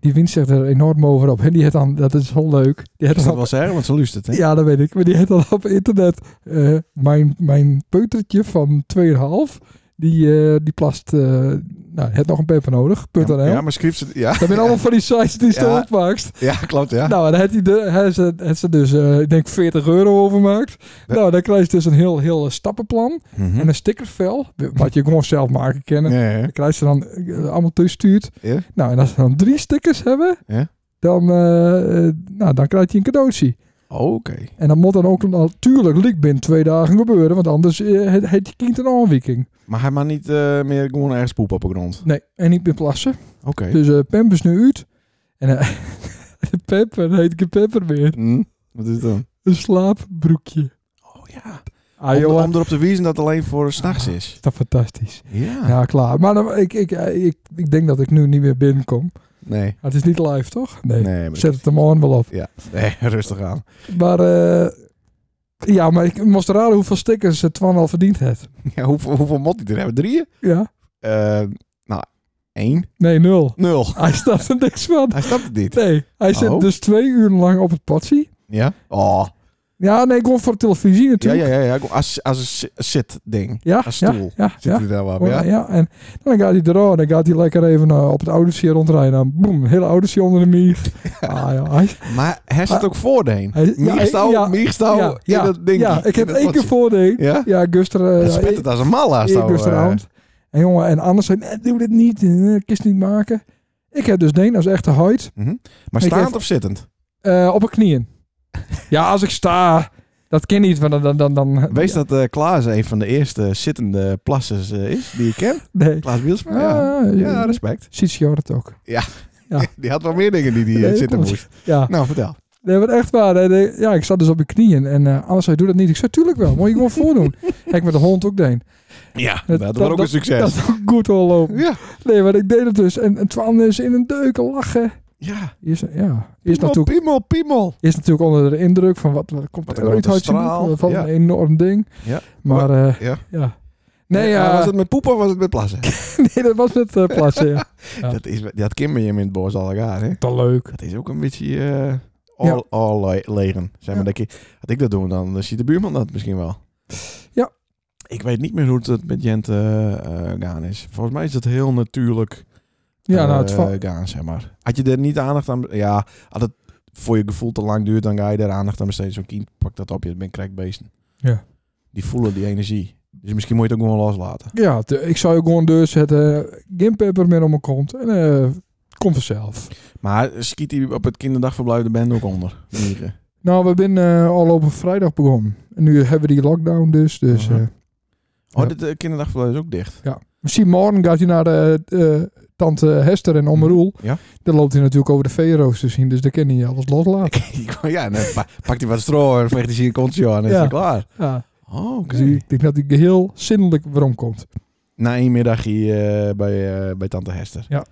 Speaker 1: die wint zich er enorm over op. En die heeft dan, dat is zo leuk. Die
Speaker 2: ik
Speaker 1: heeft
Speaker 2: kan
Speaker 1: dan
Speaker 2: dat wel zeggen, want ze luistert het, hè?
Speaker 1: ja, dat weet ik. Maar die heeft dan op internet eh, mijn, mijn peutertje van 2,5. Die, eh, die plast, eh, nou, het nog een peper nodig. Punt
Speaker 2: ja,
Speaker 1: NL.
Speaker 2: ja, maar schrijft ze... Ja,
Speaker 1: Dat zijn allemaal van die sites die ze
Speaker 2: Ja.
Speaker 1: opmaakt.
Speaker 2: ja klopt, ja.
Speaker 1: Nou, en dan heeft hij de- heeft ze, heeft ze dus, eh, ik denk, 40 euro overmaakt.
Speaker 2: Ja.
Speaker 1: Nou, dan krijg je dus een heel, heel eh, stappenplan.
Speaker 2: Mhm.
Speaker 1: En een stickervel, wat je gewoon zelf maken kan.
Speaker 2: Ja, ja, ja.
Speaker 1: Dan krijg je dan eh, allemaal toegestuurd.
Speaker 2: Ja.
Speaker 1: Nou, en als ze dan drie stickers hebben,
Speaker 2: Ja.
Speaker 1: dan, eh, eh, nou, dan krijg je een cadeautje.
Speaker 2: Oh, Oké.
Speaker 1: En dat moet dan ook natuurlijk liek binnen twee dagen gebeuren, want anders eh, het heet je kind een aanwiking.
Speaker 2: Maar hij mag niet eh, meer gewoon ergens poep op de grond.
Speaker 1: Nee, en niet meer plassen.
Speaker 2: Oké.
Speaker 1: Dus eh Pemp is nu uit. En eh, de Pepper heet geen Pepper meer.
Speaker 2: Hm, Wat is het dan?
Speaker 1: Een slaapbroekje.
Speaker 2: Oh ja.
Speaker 1: Ah,
Speaker 2: om,
Speaker 1: joh,
Speaker 2: om erop te wijzen dat het alleen voor 's nachts is.
Speaker 1: is dat fantastisch.
Speaker 2: Ja.
Speaker 1: Ja, klaar. Maar dan, ik, ik, eh, ik, ik denk dat ik nu niet meer binnenkom.
Speaker 2: Nee.
Speaker 1: Maar het is niet live, toch? Nee.
Speaker 2: Nee, maar
Speaker 1: Zet het er morgen wel op.
Speaker 2: ja. nee, rustig aan.
Speaker 1: Maar, eh, ja, maar ik moest raden hoeveel stickers eh, Twan al verdiend heeft.
Speaker 2: Ja, hoeveel, hoeveel mot die er hebben? Drieën?
Speaker 1: Ja?
Speaker 2: Eh, nou, één.
Speaker 1: Nee, nul.
Speaker 2: Nul.
Speaker 1: Hij staat er niks van.
Speaker 2: Hij snapt het niet.
Speaker 1: Nee, hij zit
Speaker 2: Oh.
Speaker 1: dus twee uur lang op het potje.
Speaker 2: Ja? Oh.
Speaker 1: Ja, nee, ik kom voor de televisie
Speaker 2: Ja,
Speaker 1: natuurlijk.
Speaker 2: ja, ja. ja. Als, als een si- zit-ding.
Speaker 1: Ja,
Speaker 2: Als
Speaker 1: ja,
Speaker 2: stoel.
Speaker 1: ja,
Speaker 2: Zit
Speaker 1: ja.
Speaker 2: hij daar wel op,
Speaker 1: Ja,
Speaker 2: ja?
Speaker 1: ja, en dan gaat hij eraan. Dan gaat hij lekker even eh, op het Odyssee rondrijden. Dan boem, hele Odyssee onder de mier. Ah, ja, hij,
Speaker 2: Maar hij zit ook voordeen.
Speaker 1: hij- ja,
Speaker 2: Mierstouw,
Speaker 1: ja,
Speaker 2: mierstouw
Speaker 1: ja,
Speaker 2: Nou, in
Speaker 1: ja,
Speaker 2: dat ding.
Speaker 1: Ja, ik
Speaker 2: In
Speaker 1: heb
Speaker 2: dat
Speaker 1: één keer
Speaker 2: potje.
Speaker 1: voordeel.
Speaker 2: Ja?
Speaker 1: Ja, Guster. eh,
Speaker 2: Hij
Speaker 1: ja,
Speaker 2: spit
Speaker 1: ik-
Speaker 2: het als een malle. als
Speaker 1: ik
Speaker 2: nou,
Speaker 1: dus
Speaker 2: eh,
Speaker 1: eruit. En jongen, en anders zei nee, doe dit niet, eh, kist niet maken. Ik heb dus Deen als echte huid
Speaker 2: Maar
Speaker 1: Ik
Speaker 2: staand
Speaker 1: heb-
Speaker 2: of zittend?
Speaker 1: eh, op een knieën. ja, als ik sta, dat kan niet, want dan... dan, dan, dan
Speaker 2: Wees dat eh, Klaas een van de eerste zittende plassers eh, is die ik ken.
Speaker 1: Nee.
Speaker 2: Klaas Bielsma. ja.
Speaker 1: Ah, Ja,
Speaker 2: ja, respect.
Speaker 1: Ziet Sjor het ook.
Speaker 2: Die had wel meer dingen die die
Speaker 1: Nee,
Speaker 2: eh,
Speaker 1: dat
Speaker 2: zitten
Speaker 1: klopt.
Speaker 2: moest.
Speaker 1: Ja,
Speaker 2: Nou, vertel.
Speaker 1: nee, maar echt waar. hè. Nee, Ja, ik zat dus op mijn knieën. En eh anders zei, doe dat niet. Ik zei, tuurlijk wel. Moet je gewoon voordoen. Heb ik met de hond ook deen.
Speaker 2: Ja,
Speaker 1: Dat-
Speaker 2: dat,
Speaker 1: dat-
Speaker 2: was ook een succes.
Speaker 1: Dat is ook goed al lopen.
Speaker 2: ja.
Speaker 1: Nee, maar ik deed het dus. En, en Twan is in een deuken lachen.
Speaker 2: Ja.
Speaker 1: Is, ja, is
Speaker 2: Piemel,
Speaker 1: natuurlijk,
Speaker 2: piemel, piemel.
Speaker 1: is natuurlijk onder de indruk van wat, wat komt
Speaker 2: Wat
Speaker 1: er
Speaker 2: een
Speaker 1: ooit
Speaker 2: grote
Speaker 1: uit zijn
Speaker 2: straal,
Speaker 1: boek, Van
Speaker 2: ja.
Speaker 1: een enorm ding.
Speaker 2: Ja. Oh,
Speaker 1: Maar eh,
Speaker 2: Ja.
Speaker 1: ja. Nee,
Speaker 2: Maar
Speaker 1: ja,
Speaker 2: Eh, Was het met poepen of was het met plassen?
Speaker 1: nee, dat was met eh plassen. Ja. Ja.
Speaker 2: Dat, is, dat kimmer je in het bos al elkaar, hè?
Speaker 1: Te leuk.
Speaker 2: Dat is ook een beetje eh all, all le- legen. Zeg maar, dat ik, had ik dat doen, dan eh, ziet de buurman dat misschien wel.
Speaker 1: Ja.
Speaker 2: Ik weet niet meer hoe het met Jent eh, eh, gaan is. Volgens mij is dat heel natuurlijk
Speaker 1: Ja, nou, het
Speaker 2: eh,
Speaker 1: va-
Speaker 2: gaan, zeg maar. Had je er niet aandacht aan... Ja, had het voor je gevoel te lang duurt, dan ga je er aandacht aan besteden. Zo'n kind pakt dat op, je bent krijkbeesten.
Speaker 1: Ja.
Speaker 2: Die voelen die energie. Dus misschien moet je het ook gewoon loslaten.
Speaker 1: Ja, te- ik zou je gewoon dus deur zetten. Geen peppermint om mijn kont. En eh komt vanzelf.
Speaker 2: Maar schiet hij op het kinderdagverblijf de band ook onder? Mieren.
Speaker 1: Nou, we zijn eh al op een vrijdag begonnen. En nu hebben we die lockdown dus. dus
Speaker 2: Aha.
Speaker 1: eh,
Speaker 2: Oh,
Speaker 1: Ja.
Speaker 2: dit eh, kinderdagverblijf is ook dicht.
Speaker 1: misschien morgen gaat hij naar de, eh, tante Hester en Oom Roel.
Speaker 2: Ja.
Speaker 1: Dan loopt hij natuurlijk over de veeroos te zien. Dus daar kan hij alles loslaten.
Speaker 2: ja, dan pa- pakt hij wat stro en veegt hij zijn kontje aan en is
Speaker 1: Ja.
Speaker 2: hij klaar.
Speaker 1: Ja.
Speaker 2: Oh, oké.
Speaker 1: Dus ik denk dat hij heel zinnelijk waarom komt.
Speaker 2: Na één middagje eh, bij, eh, bij tante Hester.
Speaker 1: Ja.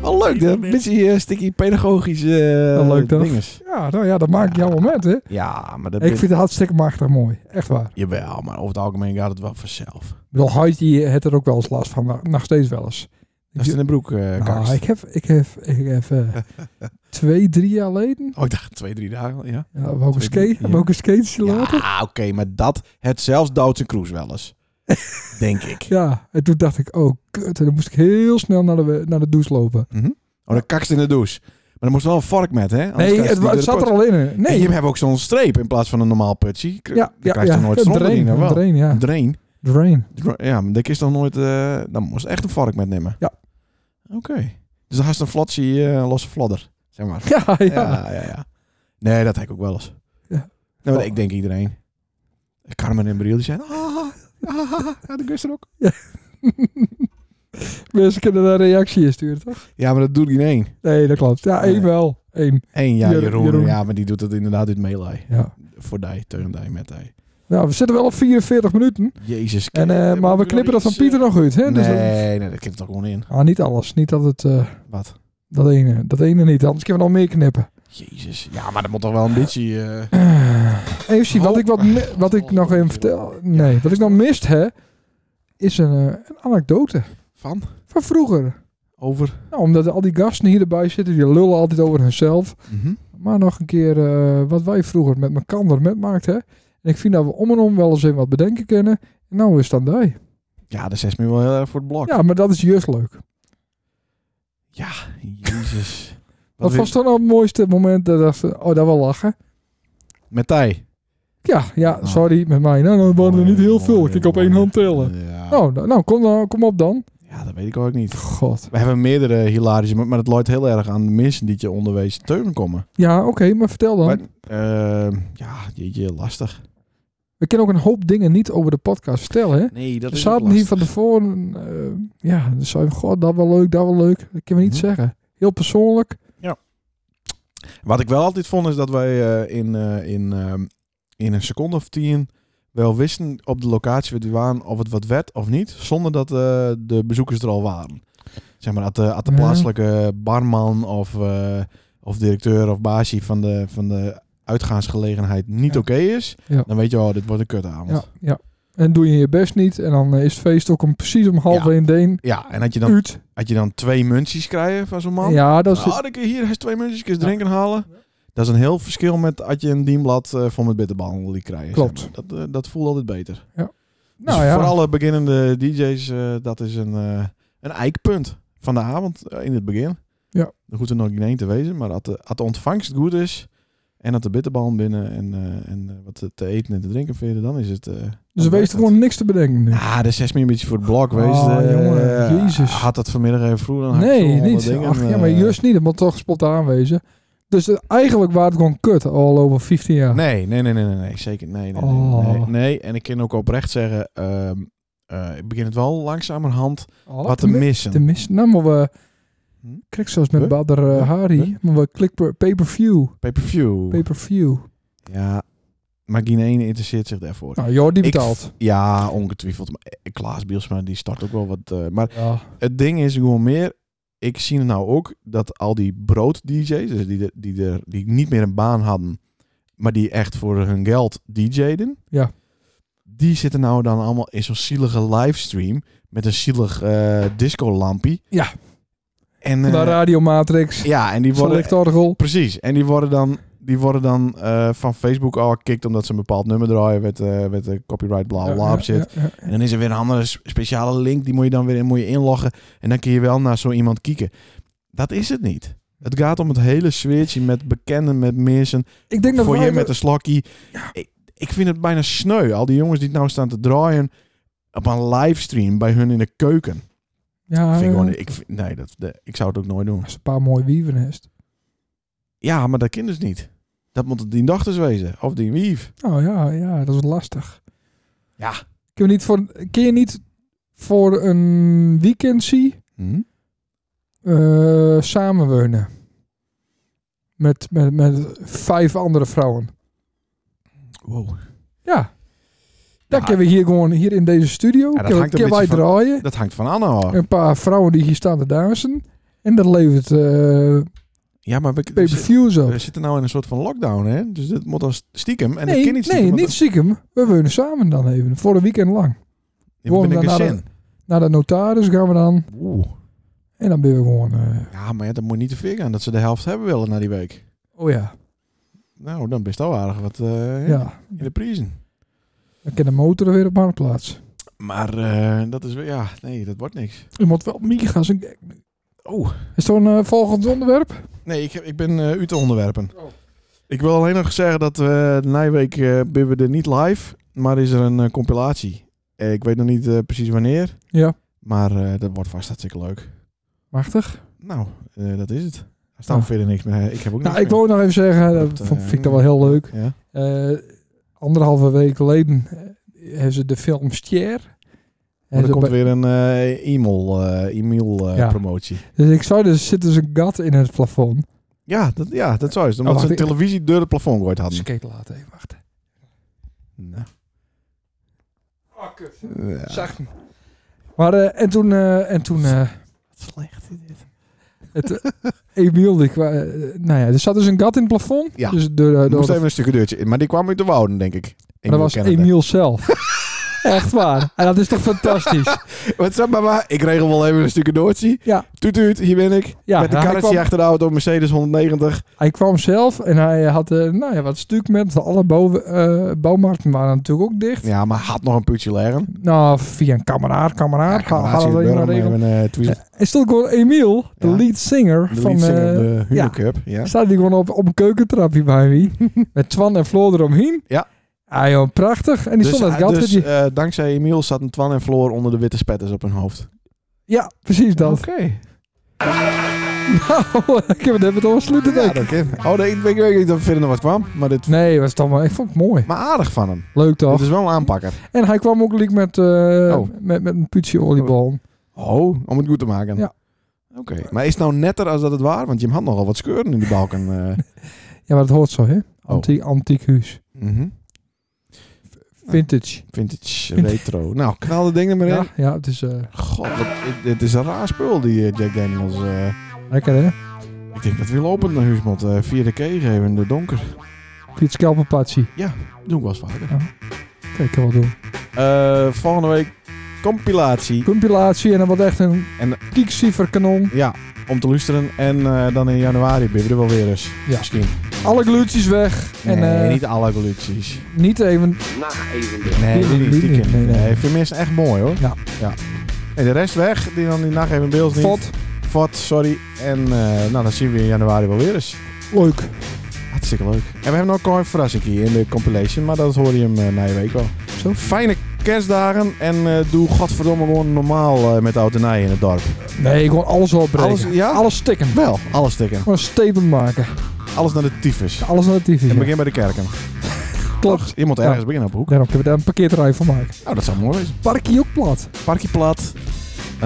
Speaker 2: Wel leuk, hè? een beetje eh sticky pedagogische eh
Speaker 1: Wel leuk, toch?
Speaker 2: dinges.
Speaker 1: Ja, nou ja, dat maakt
Speaker 2: Ja.
Speaker 1: jouw moment, hè?
Speaker 2: Ja, maar dat
Speaker 1: Ik
Speaker 2: ben-
Speaker 1: vind het hartstikke machtig mooi. Echt waar.
Speaker 2: Jawel, maar over het algemeen gaat het wel vanzelf.
Speaker 1: Ik bedoel, Huid die heeft er ook wel eens last van, maar nog steeds wel eens.
Speaker 2: Dat is in de broek, eh
Speaker 1: Nou,
Speaker 2: kakst.
Speaker 1: ik heb, ik heb, ik heb eh, twee, drie jaar geleden,
Speaker 2: Oh, ik dacht twee, drie dagen, ja.
Speaker 1: ja, welke
Speaker 2: Twee, drie,
Speaker 1: skate,
Speaker 2: ja.
Speaker 1: welke skates je later.
Speaker 2: Ja, oké, maar dat, het zelfs duwt zijn cruise wel eens. Denk ik.
Speaker 1: Ja, en toen dacht ik, oh kut, en dan moest ik heel snel naar de, we- naar de douche lopen.
Speaker 2: Oh, dan kakst in de douche. Maar er moest wel een vork met, hè? Anders
Speaker 1: nee,
Speaker 2: kakst
Speaker 1: het,
Speaker 2: die
Speaker 1: wa-
Speaker 2: door
Speaker 1: het
Speaker 2: de
Speaker 1: zat
Speaker 2: pot.
Speaker 1: er al in. hè.
Speaker 2: En
Speaker 1: Nee,
Speaker 2: je hebt ook zo'n streep in plaats van een normaal putje. Kr-
Speaker 1: ja,
Speaker 2: dan
Speaker 1: ja,
Speaker 2: krijg je
Speaker 1: ja,
Speaker 2: toch nooit
Speaker 1: een
Speaker 2: stront erin,
Speaker 1: drain,
Speaker 2: dan
Speaker 1: een
Speaker 2: wel.
Speaker 1: drain, ja.
Speaker 2: Een drain.
Speaker 1: Drain.
Speaker 2: Dra- Ja, maar dat is dan nooit... eh, dan moest echt een vark met nemen.
Speaker 1: Ja.
Speaker 2: Oké. Dus dan had je een flatsie, eh, losse fladder, zeg maar.
Speaker 1: Ja, ja.
Speaker 2: ja, ja, ja. Nee, dat heb ik ook wel eens.
Speaker 1: Ja. Oh.
Speaker 2: Nou, ik denk iedereen. Carmen en Briel, die zijn... Ah, ah, ah, ah, ja, de gust er ook.
Speaker 1: Mensen kunnen daar reactie in sturen, toch?
Speaker 2: Ja, maar dat doet geen één.
Speaker 1: Nee, dat klopt. Ja, één
Speaker 2: Nee.
Speaker 1: wel. Eén.
Speaker 2: Eén, ja,
Speaker 1: Jeroen-
Speaker 2: Jeroen,
Speaker 1: Jeroen.
Speaker 2: Ja, maar die doet dat inderdaad uit meelij.
Speaker 1: Ja.
Speaker 2: Voor die, tegen die, met die.
Speaker 1: Nou, we zitten wel op 44 minuten.
Speaker 2: Jezus.
Speaker 1: En, eh,
Speaker 2: kijk,
Speaker 1: maar we
Speaker 2: moet
Speaker 1: knippen
Speaker 2: nog
Speaker 1: dat van
Speaker 2: iets,
Speaker 1: Pieter nog uit, hè?
Speaker 2: eh,
Speaker 1: Dus dat-
Speaker 2: Nee, nee, dat knipt er gewoon in.
Speaker 1: ah, niet alles. Niet dat het... eh,
Speaker 2: Wat?
Speaker 1: dat ene, dat ene niet, anders kunnen we nog meer knippen.
Speaker 2: Jezus. Ja, maar dat moet toch wel een beetje... eh,
Speaker 1: Even zien, wat ik, wat, mi- wat ik nog even vertel. Nee, wat ik nog mist, hè, is een, eh, een anekdote
Speaker 2: van?
Speaker 1: van vroeger.
Speaker 2: Over?
Speaker 1: Nou, omdat al die gasten hier erbij zitten, die lullen altijd over hunzelf.
Speaker 2: Mhm.
Speaker 1: Maar nog een keer eh, wat wij vroeger met elkaar met maakten. hè. En ik vind dat we om en om wel eens even wat bedenken kunnen. En nou is dat bij.
Speaker 2: Ja, de zes meer wel heel erg voor het blok.
Speaker 1: Ja, maar dat is juist leuk.
Speaker 2: Jezus. Wat,
Speaker 1: Wat
Speaker 2: wil-
Speaker 1: was dan nou het mooiste moment dat dacht, oh, dat wel lachen?
Speaker 2: Met Thij.
Speaker 1: Ja, ja,
Speaker 2: Nou.
Speaker 1: sorry, met mij. Nou, dan waren er niet heel
Speaker 2: Mooi,
Speaker 1: veel. Ik kan op
Speaker 2: mooi.
Speaker 1: één hand tellen.
Speaker 2: Ja.
Speaker 1: Nou, nou, nou, kom, dan- kom op dan.
Speaker 2: ja, dat weet ik ook niet.
Speaker 1: God.
Speaker 2: We hebben meerdere hilarische, maar maar het loopt heel erg aan de mensen die je onderwees teunen komen.
Speaker 1: Ja, oké, maar vertel dan.
Speaker 2: Maar, eh, ja, jeetje, lastig.
Speaker 1: We kunnen ook een hoop dingen niet over de podcast vertellen, hè?
Speaker 2: Nee, dat
Speaker 1: We zaten hier van tevoren, eh, ja, dus zeiden we, god, dat wel leuk, dat wel leuk. Dat kunnen we niet
Speaker 2: Mhm.
Speaker 1: zeggen. Heel persoonlijk.
Speaker 2: Ja. Wat ik wel altijd vond is dat wij eh, in, eh, in, ehm, in een seconde of tien wel wisten op de locatie waar we waren of het wat werd of niet, zonder dat eh, de bezoekers er al waren. Zeg maar, had de, had de
Speaker 1: Ja.
Speaker 2: plaatselijke barman of, eh, of directeur of baasje van de, van de uitgaansgelegenheid niet
Speaker 1: Ja.
Speaker 2: oké is,
Speaker 1: Ja.
Speaker 2: dan weet je, oh, dit wordt een kutavond.
Speaker 1: Ja, ja. En doe je je best niet. En dan eh, is het feest ook om precies om half
Speaker 2: Ja.
Speaker 1: één deen.
Speaker 2: Ja, en had je, dan,
Speaker 1: Uit.
Speaker 2: had je dan twee muntjes krijgen van zo'n man?
Speaker 1: Ja, dat is
Speaker 2: Ah, ik hier eens twee muntjes drinken halen. Dat is een heel verschil met als je een dienblad eh, vol met bitterballen liet krijgen.
Speaker 1: Klopt.
Speaker 2: zeg maar. Dat, eh, dat voelt altijd beter.
Speaker 1: Nou
Speaker 2: Dus
Speaker 1: ja.
Speaker 2: Voor alle beginnende DJ's, eh, dat is een, eh, een eikpunt van de avond eh, in het begin.
Speaker 1: Ja.
Speaker 2: Er hoeft er nog geen één te wezen, maar als de, als de ontvangst goed is en dat de bitterballen binnen en, eh, en eh, wat te eten en te drinken vinden, dan is het... eh,
Speaker 1: Dus
Speaker 2: dan werkt
Speaker 1: er wees
Speaker 2: het.
Speaker 1: er gewoon niks te bedenken. nu.
Speaker 2: Ah, de zes meer een beetje voor het blok geweest. eh,
Speaker 1: Ah, jongen, jezus.
Speaker 2: Had dat vanmiddag even vroeger. dan had ik zo
Speaker 1: nee,
Speaker 2: honderd
Speaker 1: niet.
Speaker 2: dingen,
Speaker 1: Ach, ja, maar
Speaker 2: eh,
Speaker 1: juist niet. Het moet toch spontaan wezen. Dus eh, eigenlijk waren het gewoon kut al over 15 jaar.
Speaker 2: Nee, nee, nee, nee, nee, nee, zeker. Nee, nee, nee,
Speaker 1: Oh.
Speaker 2: nee, nee. En ik kan ook oprecht zeggen, ehm, eh, ik begin het wel langzamerhand
Speaker 1: Al
Speaker 2: wat te
Speaker 1: tenmin-
Speaker 2: missen.
Speaker 1: Oh, te missen. Nou, maar we...
Speaker 2: Hm?
Speaker 1: Kijk, zoals met
Speaker 2: Huh?
Speaker 1: Badr eh,
Speaker 2: Huh?
Speaker 1: Hari.
Speaker 2: Huh?
Speaker 1: Maar we klik per- pay-per-view.
Speaker 2: Pay-per-view.
Speaker 1: Pay-per-view.
Speaker 2: ja, maar geen ene interesseert zich daarvoor.
Speaker 1: Nou, joh, die
Speaker 2: Ik-
Speaker 1: betaalt.
Speaker 2: Ja, ongetwijfeld. Maar eh, Klaas Bielsma, die start ook wel wat. eh, maar
Speaker 1: Ja.
Speaker 2: het ding is gewoon meer, ik zie het nou ook dat al die brood-dj's, dus die, er- die, er, die niet meer een baan hadden, maar die echt voor hun geld dj'den.
Speaker 1: Ja.
Speaker 2: Die zitten nou dan allemaal in zo'n zielige livestream met een zielig eh disco-lampie.
Speaker 1: Ja.
Speaker 2: En, eh,
Speaker 1: Naar Radio Matrix.
Speaker 2: ja, en die
Speaker 1: Van
Speaker 2: worden...
Speaker 1: Lichtorgel.
Speaker 2: Precies, en die worden dan, die worden dan eh, van Facebook al gekikt omdat ze een bepaald nummer draaien met, eh met de copyright bla bla op zit.
Speaker 1: Ja, ja,
Speaker 2: En dan is er weer een andere s- speciale link, die moet je dan weer in, moet je inloggen. En dan kun je wel naar zo iemand kieken. Dat is het niet. Het gaat om het hele sfeertje met bekenden, met mensen.
Speaker 1: Ik denk dat
Speaker 2: Voor
Speaker 1: wij-
Speaker 2: je met een slokkie. Ik, ik vind het bijna sneu. Al die jongens die het nou staan te draaien op een livestream bij hun in de keuken.
Speaker 1: Ja,
Speaker 2: vind ik
Speaker 1: Ah, ja.
Speaker 2: gewoon, ik, vind- nee, dat, de- ik zou het ook nooit doen.
Speaker 1: Als een paar mooie wieven heeft.
Speaker 2: Ja, maar dat kind dus niet. Dat moet het die dochters wezen. Of die wief.
Speaker 1: Nou ja, ja, dat is lastig.
Speaker 2: Ja.
Speaker 1: Kun je niet voor, kun je niet voor een weekendsie
Speaker 2: Hm?
Speaker 1: eh samenwonen? Met, met, met vijf andere vrouwen.
Speaker 2: Wow.
Speaker 1: Ja. Dan
Speaker 2: Ja.
Speaker 1: kunnen we hier gewoon, hier in deze studio,
Speaker 2: dat
Speaker 1: kunnen,
Speaker 2: hangt een
Speaker 1: kunnen wij
Speaker 2: beetje van-
Speaker 1: draaien.
Speaker 2: Dat hangt van Anna af.
Speaker 1: Een paar vrouwen die hier staan te dansen. En dat levert eh
Speaker 2: Ja, maar we,
Speaker 1: pay-per-views op.
Speaker 2: We zitten nou in een soort van lockdown, hè? Dus dit moet dan stiekem. En dat
Speaker 1: nee,
Speaker 2: kan niet stiekem.
Speaker 1: nee,
Speaker 2: want
Speaker 1: niet stiekem. We wonen samen dan even. Voor een weekend lang.
Speaker 2: Dan, dan ben
Speaker 1: Gewoon
Speaker 2: ik een
Speaker 1: daarna
Speaker 2: zin.
Speaker 1: Naar de notaris gaan we dan.
Speaker 2: Oeh.
Speaker 1: En dan ben je gewoon... eh,
Speaker 2: Ja, maar ja, dat moet niet te veel gaan. Dat ze de helft hebben willen na die week.
Speaker 1: oh ja,
Speaker 2: Nou, dan best wel aardig wat eh,
Speaker 1: ja.
Speaker 2: in de prijzen.
Speaker 1: Dan kan de motor weer op marktplaats.
Speaker 2: Maar eh, dat is weer... Ja, nee, dat wordt niks.
Speaker 1: Je moet wel meegaan. zijn gek nu.
Speaker 2: Oh.
Speaker 1: Is er een eh, volgend onderwerp?
Speaker 2: Nee, ik, heb- ik ben eh, u te onderwerpen.
Speaker 1: Oh.
Speaker 2: Ik wil alleen nog zeggen dat we de Nijweek eh ben we er niet live. Maar is er een eh, compilatie. Eh, ik weet nog niet eh, precies wanneer.
Speaker 1: Ja.
Speaker 2: Maar eh, dat wordt vast hartstikke leuk.
Speaker 1: Machtig.
Speaker 2: Nou, eh, dat is het. Er staat
Speaker 1: Ah.
Speaker 2: verder niks meer. Ik heb ook
Speaker 1: Nou,
Speaker 2: niks
Speaker 1: ik wou nog even zeggen, dat
Speaker 2: Dat,
Speaker 1: vond-
Speaker 2: eh,
Speaker 1: vind ik dat wel heel leuk.
Speaker 2: meer. Ja.
Speaker 1: Eh, anderhalve week geleden eh, hebben ze de film Stier.
Speaker 2: Maar er Oh, komt
Speaker 1: Hebben ze
Speaker 2: weer een eh, e-mail, eh, e-mail eh,
Speaker 1: Ja.
Speaker 2: promotie.
Speaker 1: bij- Dus ik zou dus zit dus een gat in het plafond.
Speaker 2: Ja, dat, ja, dat zou eens. Omdat
Speaker 1: Oh,
Speaker 2: ze
Speaker 1: wacht,
Speaker 2: een
Speaker 1: ik-
Speaker 2: televisie door het plafond gegooid hadden.
Speaker 1: Skate laten even wachten.
Speaker 2: Nou,
Speaker 1: Oh, kut.
Speaker 2: ja.
Speaker 1: Zag hem. Maar eh, en toen eh, en toen eh,
Speaker 2: Slecht is dit.
Speaker 1: het eh, Emiel die kwa- eh, nou ja, er zat dus een gat in het plafond.
Speaker 2: Ja.
Speaker 1: Dus door, eh,
Speaker 2: Er
Speaker 1: door
Speaker 2: moest even een stukje deurtje in. Maar die kwam uit de wouden, denk ik.
Speaker 1: Maar dat was
Speaker 2: Kennedy.
Speaker 1: Emiel zelf. Echt waar. En dat is toch fantastisch.
Speaker 2: Wat zeg maar, maar, ik regel wel even een stukje deurtje.
Speaker 1: Ja.
Speaker 2: Toet, toet, hier ben ik.
Speaker 1: Ja,
Speaker 2: met de
Speaker 1: hij,
Speaker 2: karretje
Speaker 1: kwam,
Speaker 2: achter de auto, Mercedes 190.
Speaker 1: hij kwam zelf en hij had eh, nou ja, wat stuk met. Alle bouw, eh, bouwmarkten waren natuurlijk ook dicht.
Speaker 2: Ja, maar had nog een putje leren.
Speaker 1: Nou, via een kameraad, kameraad.
Speaker 2: Ja,
Speaker 1: ga- hadden we maar regelen.
Speaker 2: de
Speaker 1: En stond gewoon Emiel, de
Speaker 2: Ja.
Speaker 1: lead singer van...
Speaker 2: lead singer
Speaker 1: eh,
Speaker 2: op de
Speaker 1: ja.
Speaker 2: Hugo Cup. Ja.
Speaker 1: Staat hij gewoon op, op een keukentrapje bij wie. met Twan en Floor eromheen.
Speaker 2: Ja.
Speaker 1: Ah joh, prachtig. En die
Speaker 2: Dus,
Speaker 1: stond aan
Speaker 2: eh,
Speaker 1: het gat.
Speaker 2: dus
Speaker 1: die-
Speaker 2: eh, dankzij Emiel zaten Twan en Floor onder de witte spetters op hun hoofd.
Speaker 1: ja, precies dat.
Speaker 2: Oké.
Speaker 1: Nou, ik heb het even oversluiten.
Speaker 2: Ja, dat kan. Oh, nee, ik weet- ik weet niet of er verder nog wat kwam. Maar, dit,
Speaker 1: Nee, was toch wel, ik vond het mooi.
Speaker 2: maar aardig van hem.
Speaker 1: Leuk toch?
Speaker 2: Dit is wel een aanpakker.
Speaker 1: En hij kwam ook liek met, eh,
Speaker 2: Oh.
Speaker 1: met, met een putje oliebal.
Speaker 2: Oh, om het goed te maken.
Speaker 1: Ja.
Speaker 2: Oké, maar is het nou netter als dat het waar? Want je had nogal wat scheuren in die balken. eh.
Speaker 1: Ja, maar dat hoort zo, hè?
Speaker 2: Oh.
Speaker 1: Antie, Antiek huis.
Speaker 2: Mhm.
Speaker 1: Vintage.
Speaker 2: Vintage, retro. Nou, knal dat ding er maar in.
Speaker 1: Ja, ja, het is eh,
Speaker 2: God, wat- dit is een raar spul, die eh, Jack Daniels. eh.
Speaker 1: lekker, hè?
Speaker 2: ik denk dat we lopen naar huis moeten. eh, Via de kee geven, in de donker.
Speaker 1: Piet Skelpenpatsie.
Speaker 2: Doe ik wel eens vaker.
Speaker 1: Kijk, ik kan wel doen.
Speaker 2: Eh, volgende week compilatie.
Speaker 1: Compilatie en dan wat echt een
Speaker 2: En- eh,
Speaker 1: kiekcijferkanon.
Speaker 2: Ja, om te luisteren. En eh, dan in januari ben je er wel weer eens.
Speaker 1: Ja.
Speaker 2: Misschien.
Speaker 1: Alle glutjes weg.
Speaker 2: Nee,
Speaker 1: en eh, niet,
Speaker 2: niet alle evoluties.
Speaker 1: even...
Speaker 4: Nacht even.
Speaker 2: Nee,
Speaker 1: die
Speaker 2: die niet.
Speaker 1: niet,
Speaker 2: Die ken
Speaker 1: die
Speaker 2: ik.
Speaker 1: niet, nee,
Speaker 2: Nee,
Speaker 1: nee.
Speaker 2: ik vind mensen echt mooi hoor.
Speaker 1: Ja.
Speaker 2: ja. En de rest weg, die dan die nacht even in beeld niet.
Speaker 1: Vat.
Speaker 2: Vat, sorry. En eh, nou, dan zien we in januari wel weer eens.
Speaker 1: Leuk.
Speaker 2: Hartstikke leuk. En we hebben nog een verrassing hier in de compilation, maar dat hoor je hem eh, na je week wel.
Speaker 1: Zo.
Speaker 2: Fijne kerstdagen en eh, doe godverdomme gewoon normaal eh, met de oud en nij in het dorp.
Speaker 1: Nee, gewoon alles opbreken.
Speaker 2: Alles- ja?
Speaker 1: alles stikken.
Speaker 2: Wel, alles tikken.
Speaker 1: Gewoon statement maken.
Speaker 2: Alles naar de tyfus.
Speaker 1: Alles naar de tyfus.
Speaker 2: En
Speaker 1: ja.
Speaker 2: begin bij de kerken.
Speaker 1: Klopt.
Speaker 2: Je moet
Speaker 1: Ja.
Speaker 2: ergens beginnen op de hoek.
Speaker 1: Daarom kunnen we daar een parkeerterrein van maken.
Speaker 2: Nou, dat zou mooi zijn.
Speaker 1: Parkie ook plat.
Speaker 2: Parkje plat.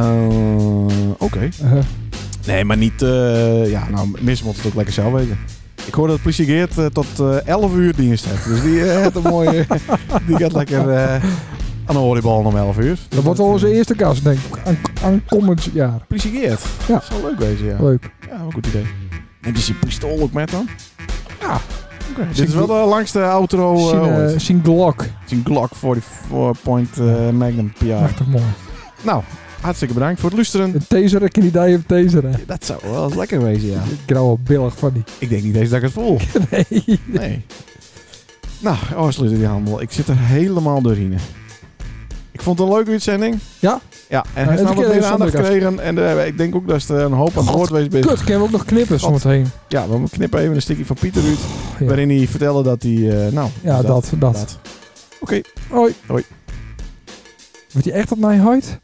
Speaker 2: Eh, Oké.
Speaker 1: Eh,
Speaker 2: Nee, maar niet... eh, ja, nou, mis moet het ook lekker zelf weten. Ik hoor dat politie Geert eh, tot eh 11 uur dienst heeft. Dus die eh, heeft een mooie... die gaat lekker eh, aan de oliebal om 11 uur.
Speaker 1: dat wordt wel onze eerste kast, denk ik. Aan, aan komend jaar.
Speaker 2: Politie Geert.
Speaker 1: Ja.
Speaker 2: Dat zou leuk wezen, ja.
Speaker 1: Leuk.
Speaker 2: Ja, wel een goed idee. Neem je zijn pistool ook met dan?
Speaker 1: Ja.
Speaker 2: Oké. Dit is wel de langste outro eh,
Speaker 1: Zien, eh,
Speaker 2: ooit.
Speaker 1: zien Glock.
Speaker 2: Het is een Glock 44 point eh, Magnum PI.
Speaker 1: Prachtig mooi.
Speaker 2: Nou, hartstikke bedankt voor het luisteren.
Speaker 1: Een taser, ik kan die daar even taseren.
Speaker 2: Dat zou wel eens lekker wezen, ja.
Speaker 1: Ik krijg wel billig van die.
Speaker 2: Ik denk niet eens dat ik het voel.
Speaker 1: Nee.
Speaker 2: Nee. Nou, oh, sluiten die handel. Ik zit er helemaal doorheen. Ik vond het een leuke uitzending.
Speaker 1: Ja?
Speaker 2: Ja, en
Speaker 1: Ja,
Speaker 2: hij
Speaker 1: het
Speaker 2: heeft
Speaker 1: is
Speaker 2: wat
Speaker 1: een
Speaker 2: meer
Speaker 1: keer
Speaker 2: aandacht
Speaker 1: zonder
Speaker 2: gekregen. En eh, ik denk ook dat er een hoop aan het
Speaker 1: God,
Speaker 2: woord geweest
Speaker 1: Kut,
Speaker 2: bent.
Speaker 1: kunnen we ook nog knippen
Speaker 2: God.
Speaker 1: zometeen.
Speaker 2: Ja, we knippen even een stukje van Pieter uit.
Speaker 1: Ja.
Speaker 2: Waarin hij vertelde dat hij... eh, nou,
Speaker 1: Ja,
Speaker 2: dus
Speaker 1: dat, dat.
Speaker 2: dat. Oké.
Speaker 1: Hoi.
Speaker 2: Hoi.
Speaker 1: Wordt hij echt op mij huid?